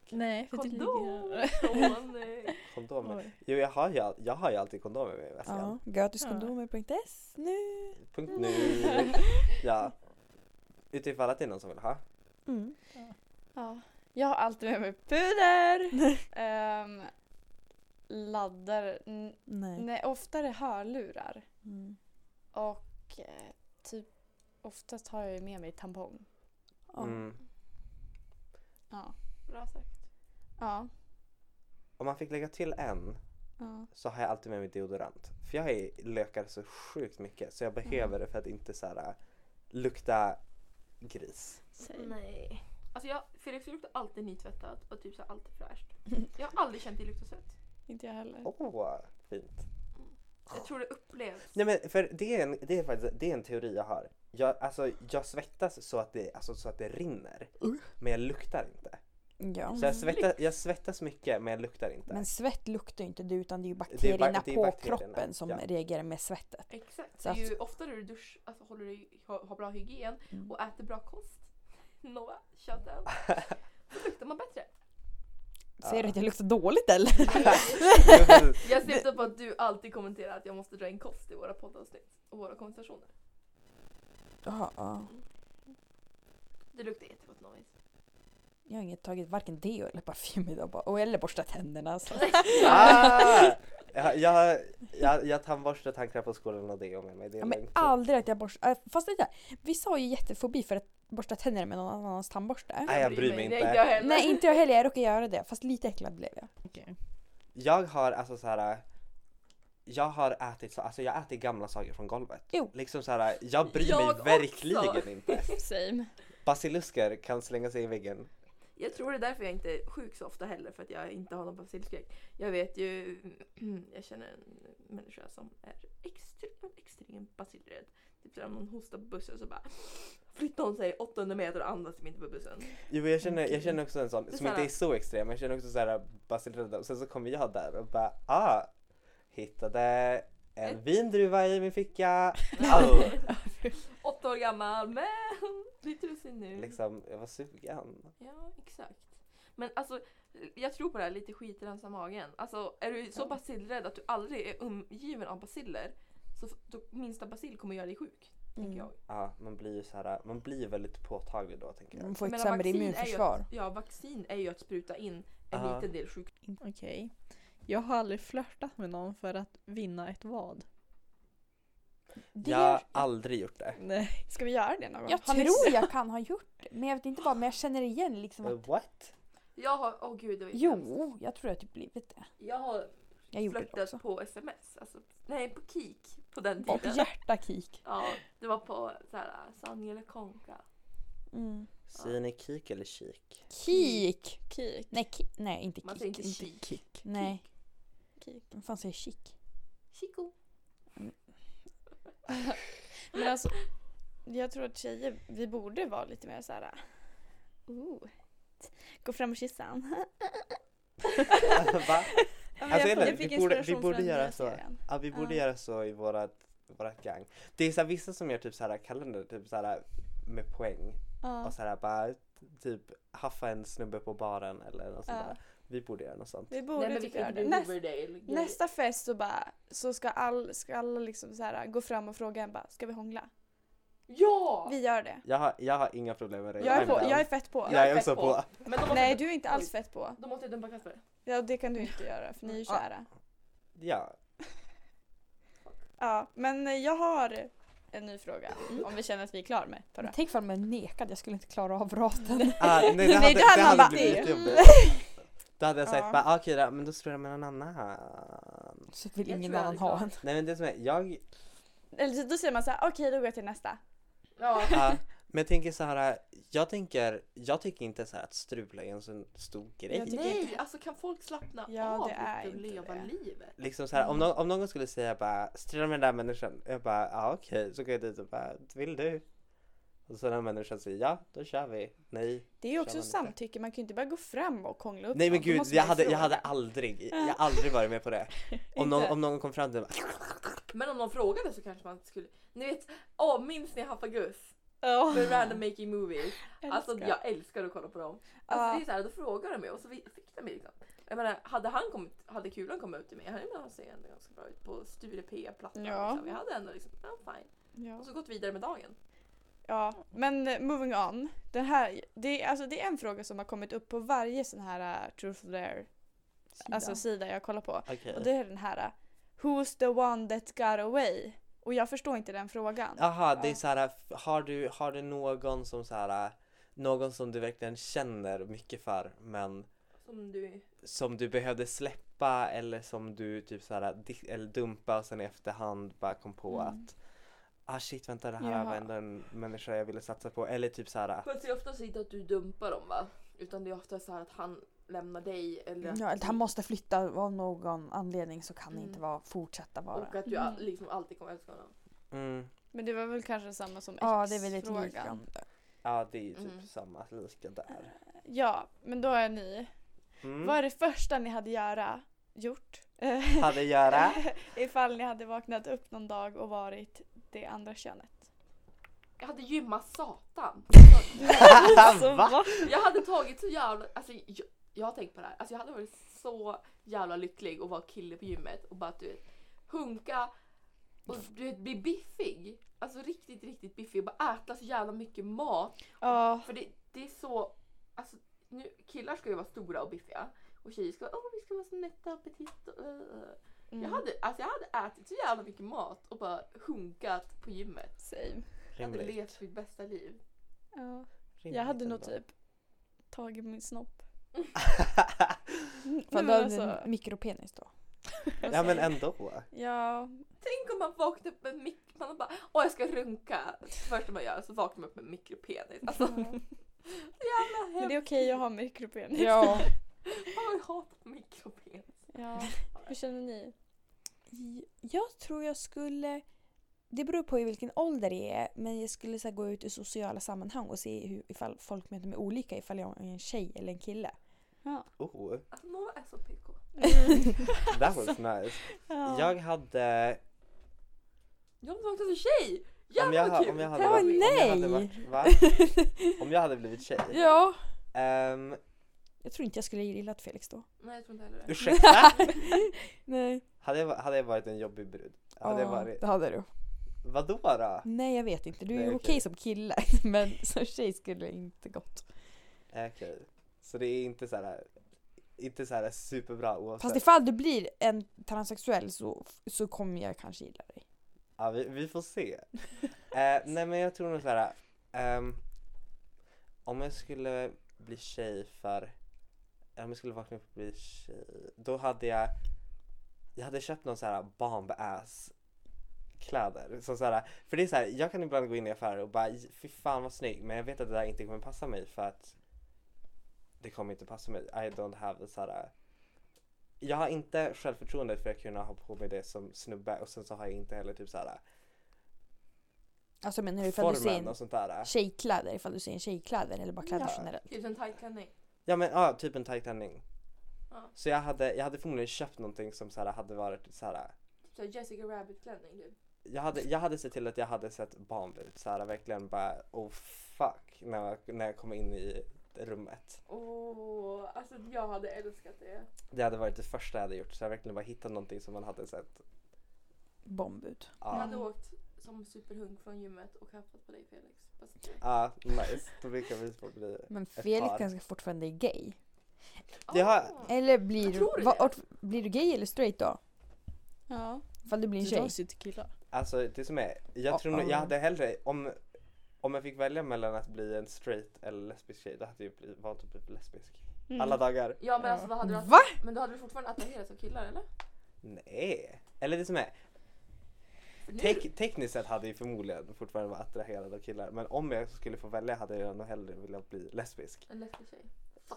[SPEAKER 5] Nej, för det
[SPEAKER 1] typ
[SPEAKER 4] Kondom!
[SPEAKER 5] ligger...
[SPEAKER 4] Från, eh,
[SPEAKER 2] Kondomer.
[SPEAKER 5] Oj.
[SPEAKER 2] Jo, jag har ju, all- jag har ju alltid kondomer med alltså, i
[SPEAKER 1] Ja,
[SPEAKER 2] väskan.
[SPEAKER 1] gratiskondomer.se nu.
[SPEAKER 2] Punkt nu. Ja. Utifall att det är någon som vill ha.
[SPEAKER 1] Mm.
[SPEAKER 3] Ja. Jag har alltid med mig puder. Ehm, laddar. N-
[SPEAKER 1] Nej.
[SPEAKER 3] nej, oftare hörlurar.
[SPEAKER 1] Mm.
[SPEAKER 3] Och eh, typ oftast har jag ju med mig tampong.
[SPEAKER 1] Ja.
[SPEAKER 2] Mm.
[SPEAKER 3] Ja.
[SPEAKER 4] bra sagt.
[SPEAKER 3] Ja.
[SPEAKER 2] Om man fick lägga till en
[SPEAKER 3] ja.
[SPEAKER 2] så har jag alltid med mig deodorant. För jag är, lökar så sjukt mycket så jag
[SPEAKER 1] Mm.
[SPEAKER 2] behöver det för att inte så här, äh, lukta gris.
[SPEAKER 4] Nej. Alltså jag, Felix du luktar alltid nytvättad och typ så här alltid fräscht. Jag har aldrig känt dig lukta svett.
[SPEAKER 3] Inte jag
[SPEAKER 1] Mm.
[SPEAKER 3] heller.
[SPEAKER 2] Åh, oh, fint.
[SPEAKER 4] Jag tror det upplevs.
[SPEAKER 2] Nej men för det är, en, det är faktiskt det är en teori jag har. Jag, alltså, jag svettas så att det, alltså, så att det rinner. Men jag luktar inte.
[SPEAKER 1] Ja.
[SPEAKER 2] Så jag svettas, jag svettas mycket men jag luktar inte.
[SPEAKER 1] Men svett luktar ju inte du utan det är ju
[SPEAKER 2] Det är ba-
[SPEAKER 1] bakterierna
[SPEAKER 2] det är
[SPEAKER 1] på
[SPEAKER 2] bakterierna,
[SPEAKER 1] kroppen som
[SPEAKER 2] ja.
[SPEAKER 1] reagerar med svettet.
[SPEAKER 4] Exakt.
[SPEAKER 1] Så
[SPEAKER 4] det är
[SPEAKER 1] att-
[SPEAKER 4] ju oftare du dusch, alltså håller dig, har, har bra hygien
[SPEAKER 1] Mm.
[SPEAKER 4] och äter bra kost. Noah, shout out.
[SPEAKER 2] Ah!
[SPEAKER 4] Då luktar man bättre.
[SPEAKER 1] Ser du att jag luktar dåligt eller?
[SPEAKER 4] Jag syftar på att du alltid kommenterar att jag måste dra in kost i våra poddavsnitt och våra konversationer.
[SPEAKER 1] Ja, ja.
[SPEAKER 4] Det luktar jättegott Novis.
[SPEAKER 1] Jag har inget tagit varken deo eller parfym idag bara, och eller borstat tänderna. alltså. Så.
[SPEAKER 2] ah! jag, jag, jag, jag tandborstar, tandkräm på skolan och det med mig. Det är
[SPEAKER 1] Ja, men
[SPEAKER 2] lugnt.
[SPEAKER 1] aldrig att jag borstar, äh, fast det där. Vissa har ju jättefobi för att borsta tänderna med någon annans tandborste.
[SPEAKER 2] Nej, jag bryr mig
[SPEAKER 4] Det är
[SPEAKER 2] inte.
[SPEAKER 4] jag heller.
[SPEAKER 1] Nej inte jag heller, jag råkar göra det. Fast lite äcklad blev jag.
[SPEAKER 5] Okej.
[SPEAKER 2] Jag har alltså så här. Jag har ätit, så- alltså jag äter gamla saker från golvet.
[SPEAKER 1] Jo.
[SPEAKER 2] Liksom så här, jag bryr
[SPEAKER 4] Jag
[SPEAKER 2] mig
[SPEAKER 4] också.
[SPEAKER 2] verkligen inte.
[SPEAKER 3] Oh, Same.
[SPEAKER 2] Basilusker kan slänga sig i väggen.
[SPEAKER 4] Jag tror det är därför jag inte är sjuk så ofta heller för att jag inte har någon basilskräck. Jag vet ju, jag känner en människa som är extremt, extremt basilrädd. Typ såhär om någon hostar på bussen så bara flyttar hon sig 800 meter och andas typ inte på bussen.
[SPEAKER 2] Jo, jag känner, jag känner också en sån
[SPEAKER 4] är
[SPEAKER 2] som inte
[SPEAKER 4] såhär-
[SPEAKER 2] är så extrem. men Jag känner också så här basilrädda och sen så kommer jag där och bara ah, hittade en vindruva i min ficka. Au!
[SPEAKER 4] Åtta år gammal men lite russin nu.
[SPEAKER 2] liksom, jag var sugen.
[SPEAKER 4] Ja exakt. Men alltså jag tror på det här lite skit rensa magen. Alltså är du så basilrädd att du aldrig är omgiven av basiller så f- då, minsta basil kommer göra dig sjuk.
[SPEAKER 2] Mm.
[SPEAKER 4] Tänker jag.
[SPEAKER 2] Ja, man blir ju så här, man blir ju väldigt påtaglig då tänker jag.
[SPEAKER 1] Man får
[SPEAKER 4] Jag
[SPEAKER 1] ett
[SPEAKER 4] menar,
[SPEAKER 1] sämre
[SPEAKER 4] vaccin är ju
[SPEAKER 1] immunförsvar.
[SPEAKER 4] Att, ja, vaccin är ju att spruta in en
[SPEAKER 2] Ja.
[SPEAKER 4] liten del sjukdom.
[SPEAKER 5] Okej. Jag har aldrig flörtat med någon för att vinna ett vad.
[SPEAKER 1] Det
[SPEAKER 2] jag
[SPEAKER 1] gör-
[SPEAKER 2] har aldrig gjort det.
[SPEAKER 5] Nej.
[SPEAKER 3] Ska vi göra det någon gång?
[SPEAKER 1] Jag
[SPEAKER 3] Har ni-
[SPEAKER 1] tror jag kan ha gjort det. Men jag vet inte vad, men jag känner igen liksom
[SPEAKER 4] Oh,
[SPEAKER 1] att
[SPEAKER 2] Uh, what?
[SPEAKER 4] Jag har, åh gud det var ju hemskt.
[SPEAKER 1] Jo, jag tror jag typ blivit det.
[SPEAKER 4] Jag har
[SPEAKER 1] Jag gjorde det också.
[SPEAKER 4] flörtat på sms. Alltså, nej, på kik på den
[SPEAKER 1] Och
[SPEAKER 4] tiden.
[SPEAKER 1] hjärta kik.
[SPEAKER 4] Ja, det var på såhär Sanny eller Konka.
[SPEAKER 1] Mm.
[SPEAKER 2] Säger ni kik eller kik?
[SPEAKER 1] Kik!
[SPEAKER 3] Kik.
[SPEAKER 1] Nej, ki- nej inte kik.
[SPEAKER 4] Man säger inte kik.
[SPEAKER 1] kik. Nej.
[SPEAKER 3] Kik.
[SPEAKER 1] Vad fan säger kik?
[SPEAKER 4] Chico.
[SPEAKER 3] Men alltså, jag tror att tjejer, vi borde vara lite mer såhär... Ooh. Gå fram och kyssa han.
[SPEAKER 2] Va?
[SPEAKER 3] Ja, men
[SPEAKER 2] Alltså,
[SPEAKER 3] jag,
[SPEAKER 2] Ellen,
[SPEAKER 3] jag fick
[SPEAKER 2] vi borde- vi
[SPEAKER 3] inspiration
[SPEAKER 2] borde
[SPEAKER 3] från den
[SPEAKER 2] göra
[SPEAKER 3] nya
[SPEAKER 2] så.
[SPEAKER 3] serien.
[SPEAKER 2] Ja, vi borde
[SPEAKER 3] Ja.
[SPEAKER 2] göra så i vårat, vårat gang. Det är så här, vissa som gör typ så här kalender, typ så här med poäng.
[SPEAKER 3] Ja.
[SPEAKER 2] Och så här bara typ haffa en snubbe på baren eller något sånt
[SPEAKER 3] Ja.
[SPEAKER 2] där. Vi borde göra något sånt.
[SPEAKER 3] Vi borde typ göra det. Näst, nästa fest så, bara, så ska, all, ska alla liksom så här, gå fram och fråga en bara, ska vi hångla?
[SPEAKER 4] Ja!
[SPEAKER 3] Vi gör det.
[SPEAKER 2] Jag har, jag har inga problem med det.
[SPEAKER 3] Jag är, på,
[SPEAKER 2] men-
[SPEAKER 3] jag är fett på.
[SPEAKER 2] jag är
[SPEAKER 4] fett
[SPEAKER 2] också
[SPEAKER 4] på.
[SPEAKER 2] på.
[SPEAKER 4] Men då måste,
[SPEAKER 3] Nej, du är inte alls fett på.
[SPEAKER 4] då måste jag dumpa Kasper.
[SPEAKER 3] Ja, det kan du inte göra för ni är ju
[SPEAKER 2] Ja.
[SPEAKER 3] kära.
[SPEAKER 2] Ja.
[SPEAKER 3] Ja, men eh, jag har en ny fråga
[SPEAKER 2] Mm.
[SPEAKER 3] om vi känner att vi är klara med förra.
[SPEAKER 1] Men tänk ifall man nekade, jag skulle inte klara av raten.
[SPEAKER 2] Ah, nej, det
[SPEAKER 3] Nej,
[SPEAKER 2] hade,
[SPEAKER 3] då
[SPEAKER 2] det
[SPEAKER 3] hade man
[SPEAKER 2] hade
[SPEAKER 3] bara-
[SPEAKER 2] blivit
[SPEAKER 3] Mm.
[SPEAKER 2] jobbigt. Då hade jag sagt
[SPEAKER 3] Ja.
[SPEAKER 2] bara ah, okej då, men då spelar man en annan.
[SPEAKER 1] Så vill
[SPEAKER 4] Jag
[SPEAKER 1] ingen
[SPEAKER 4] tror jag
[SPEAKER 1] annan
[SPEAKER 4] hade
[SPEAKER 1] ha en.
[SPEAKER 4] klarat
[SPEAKER 2] Nej men det som är, jag
[SPEAKER 3] Eller så- då säger man så här, okej då går jag till nästa.
[SPEAKER 4] Ja.
[SPEAKER 2] Ja, men jag tänker så här. Jag tänker, jag tycker inte så här att strula är en sån stor grej.
[SPEAKER 3] Jag tycker-
[SPEAKER 4] Nej, alltså kan folk slappna
[SPEAKER 3] Ja,
[SPEAKER 4] av
[SPEAKER 3] det är
[SPEAKER 4] lite och
[SPEAKER 3] inte
[SPEAKER 4] leva
[SPEAKER 3] det.
[SPEAKER 4] livet?
[SPEAKER 2] Liksom så här,
[SPEAKER 3] Mm.
[SPEAKER 2] om, någon, om någon skulle säga bara strula med den där människan. Jag bara, ja ah, okej. Så går jag dit och bara, vill du? Och så den människan säger ja, då kör vi. Nej.
[SPEAKER 3] Det är ju också
[SPEAKER 2] Känner lite.
[SPEAKER 3] samtycke, man kan ju inte bara gå fram och kångla upp
[SPEAKER 2] Nej men
[SPEAKER 3] någon, då
[SPEAKER 2] gud,
[SPEAKER 3] måste
[SPEAKER 2] jag
[SPEAKER 3] man
[SPEAKER 2] hade, jag
[SPEAKER 3] fråga.
[SPEAKER 2] hade aldrig, jag har aldrig varit med på det. Om någon, om någon kom fram till mig
[SPEAKER 4] Men om någon frågade så kanske man skulle... Ni vet, åh minns ni Haffagus?
[SPEAKER 5] Ja.
[SPEAKER 3] Ah.
[SPEAKER 4] För random making movies. Alltså
[SPEAKER 5] Älskar.
[SPEAKER 4] jag älskar att kolla på dem. Alltså det är såhär, då frågar de mig och så vi- fick de mig liksom. Jag menar, hade han kommit, hade kulan kommit upp till mig, jag menar, han ser ändå ganska bra ut på Sture P-plattan.
[SPEAKER 3] Ja.
[SPEAKER 4] Liksom. Jag hade ändå liksom, I'm fine.
[SPEAKER 3] Ja.
[SPEAKER 4] Och så gått vidare med dagen.
[SPEAKER 3] Ja, men eh, moving on. Det, här, det, är- alltså, det är en fråga som har kommit upp på varje sån här uh, Truth or Dare alltså, sida jag kollar på.
[SPEAKER 2] Okej.
[SPEAKER 3] Och det är den här eh, Who's the one that got away? Och jag förstår inte den frågan.
[SPEAKER 2] Jaha, det är
[SPEAKER 4] Ja.
[SPEAKER 2] så här, har du, har du någon som så här, någon som du verkligen känner mycket för men
[SPEAKER 4] Som du...
[SPEAKER 2] som du behövde släppa eller som du typ så här, di- eller dumpa och sen i efterhand bara kom på
[SPEAKER 3] Mm.
[SPEAKER 2] att ah shit vänta det här
[SPEAKER 3] Jaha.
[SPEAKER 2] var ändå en människa jag ville satsa på eller typ så här.
[SPEAKER 4] Men det är oftast inte att du dumpar dem va? Utan det är ofta så här att han lämnar dig eller att
[SPEAKER 1] Ja, eller
[SPEAKER 4] du-
[SPEAKER 1] han måste flytta av någon anledning så kan det inte
[SPEAKER 4] Mm.
[SPEAKER 1] vara, fortsätta vara.
[SPEAKER 4] Och att du
[SPEAKER 3] Mm.
[SPEAKER 4] liksom alltid kommer älska honom.
[SPEAKER 2] Mm,
[SPEAKER 3] Men det var väl kanske samma som
[SPEAKER 1] Ja, det är väl lite
[SPEAKER 3] X-frågan.
[SPEAKER 1] liknande.
[SPEAKER 2] ja det är ju typ
[SPEAKER 4] Mm.
[SPEAKER 2] samma lika där.
[SPEAKER 3] Ja, men då är ni.
[SPEAKER 2] Mm.
[SPEAKER 3] Vad är det första ni hade göra, gjort? Eh,
[SPEAKER 2] Hade göra?
[SPEAKER 3] Ifall ni hade vaknat upp någon dag och varit det andra könet.
[SPEAKER 4] Jag hade gymmat satan.
[SPEAKER 3] alltså,
[SPEAKER 2] Va?
[SPEAKER 4] Jag hade tagit så jävla... Alltså, jag, jag har tänkt på det här. Alltså, jag hade varit så jävla lycklig att vara kille på gymmet och bara att du vet, hunka och du vet, bli biffig. Alltså riktigt, riktigt biffig och bara äta så jävla mycket mat.
[SPEAKER 3] Ja,
[SPEAKER 4] För det, det är så... Alltså, nu, killar ska ju vara stora och biffiga och tjejer ska vara åh vi ska vara så nätta och petit och, eh."
[SPEAKER 3] mm,
[SPEAKER 4] jag, hade, alltså, jag hade ätit så jävla mycket mat och bara hunkat på gymmet.
[SPEAKER 3] same.
[SPEAKER 4] Jag hade
[SPEAKER 2] Rimligt.
[SPEAKER 4] levt mitt bästa liv.
[SPEAKER 3] Ja.
[SPEAKER 2] Rimligt
[SPEAKER 3] Jag hade nog
[SPEAKER 2] ändå.
[SPEAKER 3] typ tagit min snopp.
[SPEAKER 1] För
[SPEAKER 3] Nej,
[SPEAKER 1] då
[SPEAKER 3] men
[SPEAKER 1] hade du
[SPEAKER 3] alltså,
[SPEAKER 1] en mikropenis då.
[SPEAKER 2] Ja men ändå.
[SPEAKER 3] ja,
[SPEAKER 4] Tänk om man vaknar upp med en mik- man har bara åh jag ska runka. Första man gör så vaknar man upp med en mikropenis. Alltså jävla
[SPEAKER 3] Mm. men
[SPEAKER 4] hemskt.
[SPEAKER 3] det är okej att ha mikropenis.
[SPEAKER 1] Ja.
[SPEAKER 4] Fan, Jag hatar mikropenis.
[SPEAKER 3] Ja, Hur känner ni?
[SPEAKER 1] Jag tror jag skulle... Det beror på i vilken ålder det är, men jag skulle så här, gå ut i sociala sammanhang och se hur, ifall folk möter mig olika, ifall jag är en tjej eller en kille.
[SPEAKER 2] Oh,
[SPEAKER 4] Alltså några är så PK.
[SPEAKER 2] that was nice.
[SPEAKER 3] Alltså, Ja.
[SPEAKER 2] Jag hade
[SPEAKER 4] Jag har inte vaknat som tjej!
[SPEAKER 2] om
[SPEAKER 4] Jävlar
[SPEAKER 2] jag,
[SPEAKER 4] vad
[SPEAKER 2] ha-
[SPEAKER 4] kul! Typ
[SPEAKER 2] om jag hade
[SPEAKER 1] Åh, nej!
[SPEAKER 2] varit, om jag hade varit va? Om jag hade blivit tjej?
[SPEAKER 1] Ja.
[SPEAKER 2] Ehm,
[SPEAKER 1] Jag tror inte jag skulle gillat Felix då.
[SPEAKER 4] Nej jag tror inte heller det.
[SPEAKER 2] ursäkta?
[SPEAKER 1] Nej.
[SPEAKER 2] hade, jag, va- hade jag varit en jobbig brud? Hade jag varit,
[SPEAKER 1] det hade du.
[SPEAKER 2] vadå då?
[SPEAKER 1] Nej jag vet inte, du är
[SPEAKER 2] Nej,
[SPEAKER 1] ju okej
[SPEAKER 2] okej.
[SPEAKER 1] som kille men som tjej skulle det inte gått.
[SPEAKER 2] Eh, Okej, så det är inte så här, inte så här superbra oavsett?
[SPEAKER 1] Fast ifall du blir en transsexuell så, så kommer jag kanske gilla dig.
[SPEAKER 2] Ja, vi, vi får se. Eh, nej men jag tror nog såhär, ehm, om jag skulle bli tjej för, om jag skulle vakna upp och bli tjej, då hade jag, jag hade köpt någon såhär bomb ass kläder. Så såhär, för det är såhär, jag kan ibland gå in i affärer och bara fy fan vad snygg men jag vet att det där inte kommer passa mig för att det kommer inte passa mig. I don't have såhär jag har inte självförtroende för att kunna ha på mig det som snubbe och sen så har jag inte heller typ såhär
[SPEAKER 1] Alltså menar du ifall du ser
[SPEAKER 2] formen
[SPEAKER 1] en
[SPEAKER 2] och sånt där.
[SPEAKER 1] tjejkläder, ifall du ser en tjejkläder eller bara kläder
[SPEAKER 2] Ja.
[SPEAKER 1] generellt?
[SPEAKER 4] Typ en tight klänning.
[SPEAKER 2] Ja men ja, typ en tight klänning.
[SPEAKER 4] Ja.
[SPEAKER 2] Så jag hade, jag hade förmodligen köpt någonting som såhär hade varit såhär
[SPEAKER 4] Typ såhär Jessica Rabbit klänning typ.
[SPEAKER 2] jag hade, jag hade sett till att jag hade sett bomb ut såhär verkligen bara oh fuck när jag, när jag kom in i rummet.
[SPEAKER 4] Åh, alltså jag hade älskat det.
[SPEAKER 2] Det hade varit det första jag hade gjort så jag verkligen bara hittat någonting som man hade sett.
[SPEAKER 1] Bombud.
[SPEAKER 4] Jag
[SPEAKER 2] Ja,
[SPEAKER 4] hade åkt som superhunk från gymmet och haftat på dig Felix. Fast,
[SPEAKER 2] ja nice. Då brukar vi få bli.
[SPEAKER 1] Men
[SPEAKER 2] Ett
[SPEAKER 1] Felix
[SPEAKER 2] par.
[SPEAKER 1] kanske fortfarande är gay.
[SPEAKER 2] Det har-
[SPEAKER 4] Ah.
[SPEAKER 1] Eller blir
[SPEAKER 4] Jag
[SPEAKER 1] du,
[SPEAKER 4] tror det.
[SPEAKER 1] vad- vart- blir du gay eller straight då?
[SPEAKER 3] Ja.
[SPEAKER 1] Ifall du blir en
[SPEAKER 5] Du
[SPEAKER 1] tjej?
[SPEAKER 5] tas ju till killar.
[SPEAKER 2] Alltså det som är, jag
[SPEAKER 1] Ja,
[SPEAKER 2] tror nog,
[SPEAKER 1] ja.
[SPEAKER 2] jag hade hellre, om, om jag fick välja mellan att bli en straight eller lesbisk tjej, då hade jag bli- valt att bli lesbisk.
[SPEAKER 3] Mm.
[SPEAKER 2] Alla dagar.
[SPEAKER 4] Ja men
[SPEAKER 5] Ja.
[SPEAKER 4] alltså vad hade du
[SPEAKER 1] Va?
[SPEAKER 4] Men då hade du fortfarande attraherats av killar eller?
[SPEAKER 2] Nej. Eller det som är,
[SPEAKER 4] För nu-
[SPEAKER 2] tek, tekniskt sett hade jag förmodligen fortfarande varit attraherad av killar, men om jag skulle få välja hade jag nog hellre velat bli lesbisk.
[SPEAKER 4] En lesbisk tjej.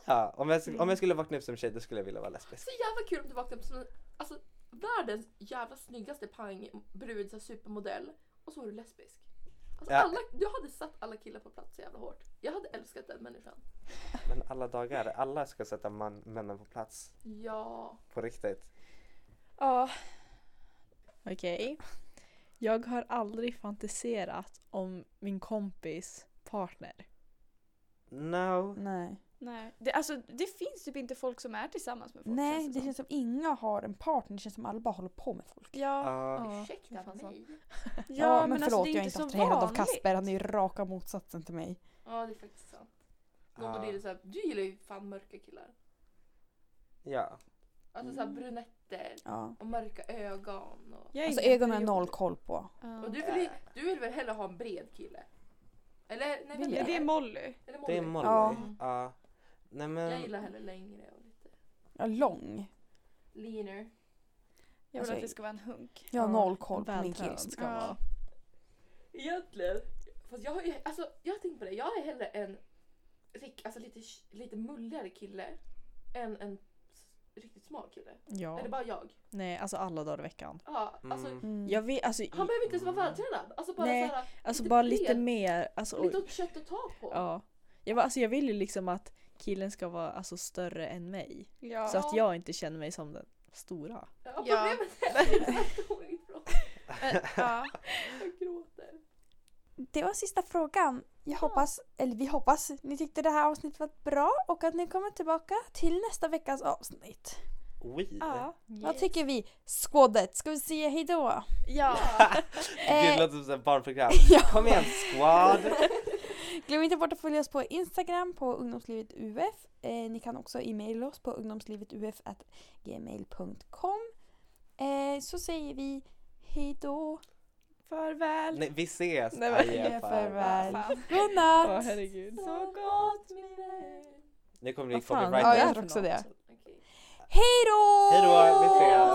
[SPEAKER 2] Ja, om jag, sk- om jag skulle vakna upp som tjej då skulle jag vilja vara lesbisk.
[SPEAKER 4] Så jävla kul om du vaknade upp som en, alltså världens jävla snyggaste pang brud, så här supermodell och så var du lesbisk. Alltså
[SPEAKER 2] Ja.
[SPEAKER 4] alla, du hade satt alla killar på plats så jävla hårt. Jag hade älskat den människan.
[SPEAKER 2] Men alla dagar, alla ska sätta man, männen på plats.
[SPEAKER 4] Ja.
[SPEAKER 2] På riktigt.
[SPEAKER 3] Ja.
[SPEAKER 5] Okej. Jag har aldrig fantiserat om min kompis partner.
[SPEAKER 2] No.
[SPEAKER 1] Nej.
[SPEAKER 3] Nej. Det, alltså, det finns typ inte folk som är tillsammans med folk
[SPEAKER 1] Nej,
[SPEAKER 3] känns
[SPEAKER 1] det känns som inga har en partner. Det känns som alla bara håller på med folk.
[SPEAKER 3] Ja,
[SPEAKER 2] Ja.
[SPEAKER 4] Ursäkta
[SPEAKER 3] fan så.
[SPEAKER 4] mig.
[SPEAKER 3] ja,
[SPEAKER 1] Ja, men, förlåt,
[SPEAKER 3] alltså, det är
[SPEAKER 1] jag är
[SPEAKER 3] inte
[SPEAKER 1] inte
[SPEAKER 3] så
[SPEAKER 1] attraherad av
[SPEAKER 3] vanligt.
[SPEAKER 1] Kasper. Han är ju raka motsatsen till mig.
[SPEAKER 4] Ja, det är faktiskt sant. Någon
[SPEAKER 2] Ja.
[SPEAKER 4] och det är så här, du gillar ju fan mörka killar.
[SPEAKER 2] ja.
[SPEAKER 4] Alltså
[SPEAKER 2] Mm.
[SPEAKER 4] såhär brunetter
[SPEAKER 1] Ja.
[SPEAKER 4] och mörka ögon. Och,
[SPEAKER 5] Jag är
[SPEAKER 1] Alltså
[SPEAKER 5] inte
[SPEAKER 1] ögonen har jag noll
[SPEAKER 5] period.
[SPEAKER 1] koll på.
[SPEAKER 3] Ja.
[SPEAKER 4] och du, vill, ju- du vill väl hellre ha en bred kille? Eller? Nej,
[SPEAKER 1] Vill jag?
[SPEAKER 4] vem
[SPEAKER 3] Ja,
[SPEAKER 4] är
[SPEAKER 3] det är Molly.
[SPEAKER 4] Är det
[SPEAKER 2] Det är
[SPEAKER 4] Molly?
[SPEAKER 2] Molly.
[SPEAKER 1] Ja.
[SPEAKER 2] Ja. Nej
[SPEAKER 4] Jag
[SPEAKER 2] men.
[SPEAKER 4] gillar hellre längre och lite
[SPEAKER 1] Ja, lång.
[SPEAKER 4] leaner.
[SPEAKER 3] Jag vill
[SPEAKER 1] Alltså,
[SPEAKER 3] att det ska vara en hunk.
[SPEAKER 1] Jag har
[SPEAKER 5] Ja,
[SPEAKER 1] noll koll på min
[SPEAKER 5] vältränad
[SPEAKER 1] kille.
[SPEAKER 5] ska
[SPEAKER 3] Ja.
[SPEAKER 5] vara.
[SPEAKER 4] Egentligen. Fast jag har ju, alltså jag har tänkt på det, jag är hellre en rick, alltså lite, lite mulligare kille än en s- riktigt smal kille.
[SPEAKER 5] Ja.
[SPEAKER 4] Är det bara jag?
[SPEAKER 5] Nej, alltså alla dagar i veckan.
[SPEAKER 4] Ja, alltså
[SPEAKER 2] Mm.
[SPEAKER 1] Mm.
[SPEAKER 5] Jag vet, alltså,
[SPEAKER 4] han
[SPEAKER 5] i,
[SPEAKER 4] behöver inte ens vara vältränad. Alltså bara
[SPEAKER 5] Nej,
[SPEAKER 4] såhär,
[SPEAKER 5] alltså
[SPEAKER 4] lite
[SPEAKER 5] bara lite
[SPEAKER 4] bred.
[SPEAKER 5] mer. Alltså, oj.
[SPEAKER 4] lite kött att ta på.
[SPEAKER 5] Ja. Jag, var- alltså, jag vill ju liksom att killen ska vara alltså, större än mig.
[SPEAKER 3] Ja.
[SPEAKER 5] Så att jag inte känner mig som den stora.
[SPEAKER 4] Ja,
[SPEAKER 3] Ja.
[SPEAKER 4] problemet är att det är så dåligt bra.
[SPEAKER 3] Eh, ja.
[SPEAKER 4] Jag gråter.
[SPEAKER 1] Det var sista frågan. Jag hoppas, eller vi hoppas, ni tyckte det här avsnittet var bra och att ni kommer tillbaka till nästa veckas avsnitt.
[SPEAKER 2] Oui.
[SPEAKER 3] ja.
[SPEAKER 1] Vad tycker vi? Skådet! Ska vi säga hejdå?
[SPEAKER 3] ja.
[SPEAKER 2] Gud, det
[SPEAKER 1] Eh,
[SPEAKER 2] låter som ett barnprogram.
[SPEAKER 1] Ja.
[SPEAKER 2] Kom igen squad!
[SPEAKER 1] Glöm inte bort att följa oss på Instagram på ungdomslivet UF. Eh, ni kan också e-maila oss på ungdomslivetuf.gmail.com eh, Så säger vi hejdå!
[SPEAKER 3] Farväl.
[SPEAKER 2] Nej, vi ses!
[SPEAKER 5] Nej, men-
[SPEAKER 2] Adjö,
[SPEAKER 1] Ja,
[SPEAKER 2] fan.
[SPEAKER 1] farväl.
[SPEAKER 3] Fan.
[SPEAKER 1] Godnatt!
[SPEAKER 5] Ja, herregud.
[SPEAKER 4] Så gott minne.
[SPEAKER 2] Nu kommer ni
[SPEAKER 5] Vad
[SPEAKER 2] få mig
[SPEAKER 5] fan?
[SPEAKER 2] right
[SPEAKER 1] Ja,
[SPEAKER 2] där.
[SPEAKER 1] jag
[SPEAKER 5] där
[SPEAKER 1] tror
[SPEAKER 5] för
[SPEAKER 1] också det.
[SPEAKER 4] Okej.
[SPEAKER 1] Hejdå!
[SPEAKER 2] Hejdå, vi ses!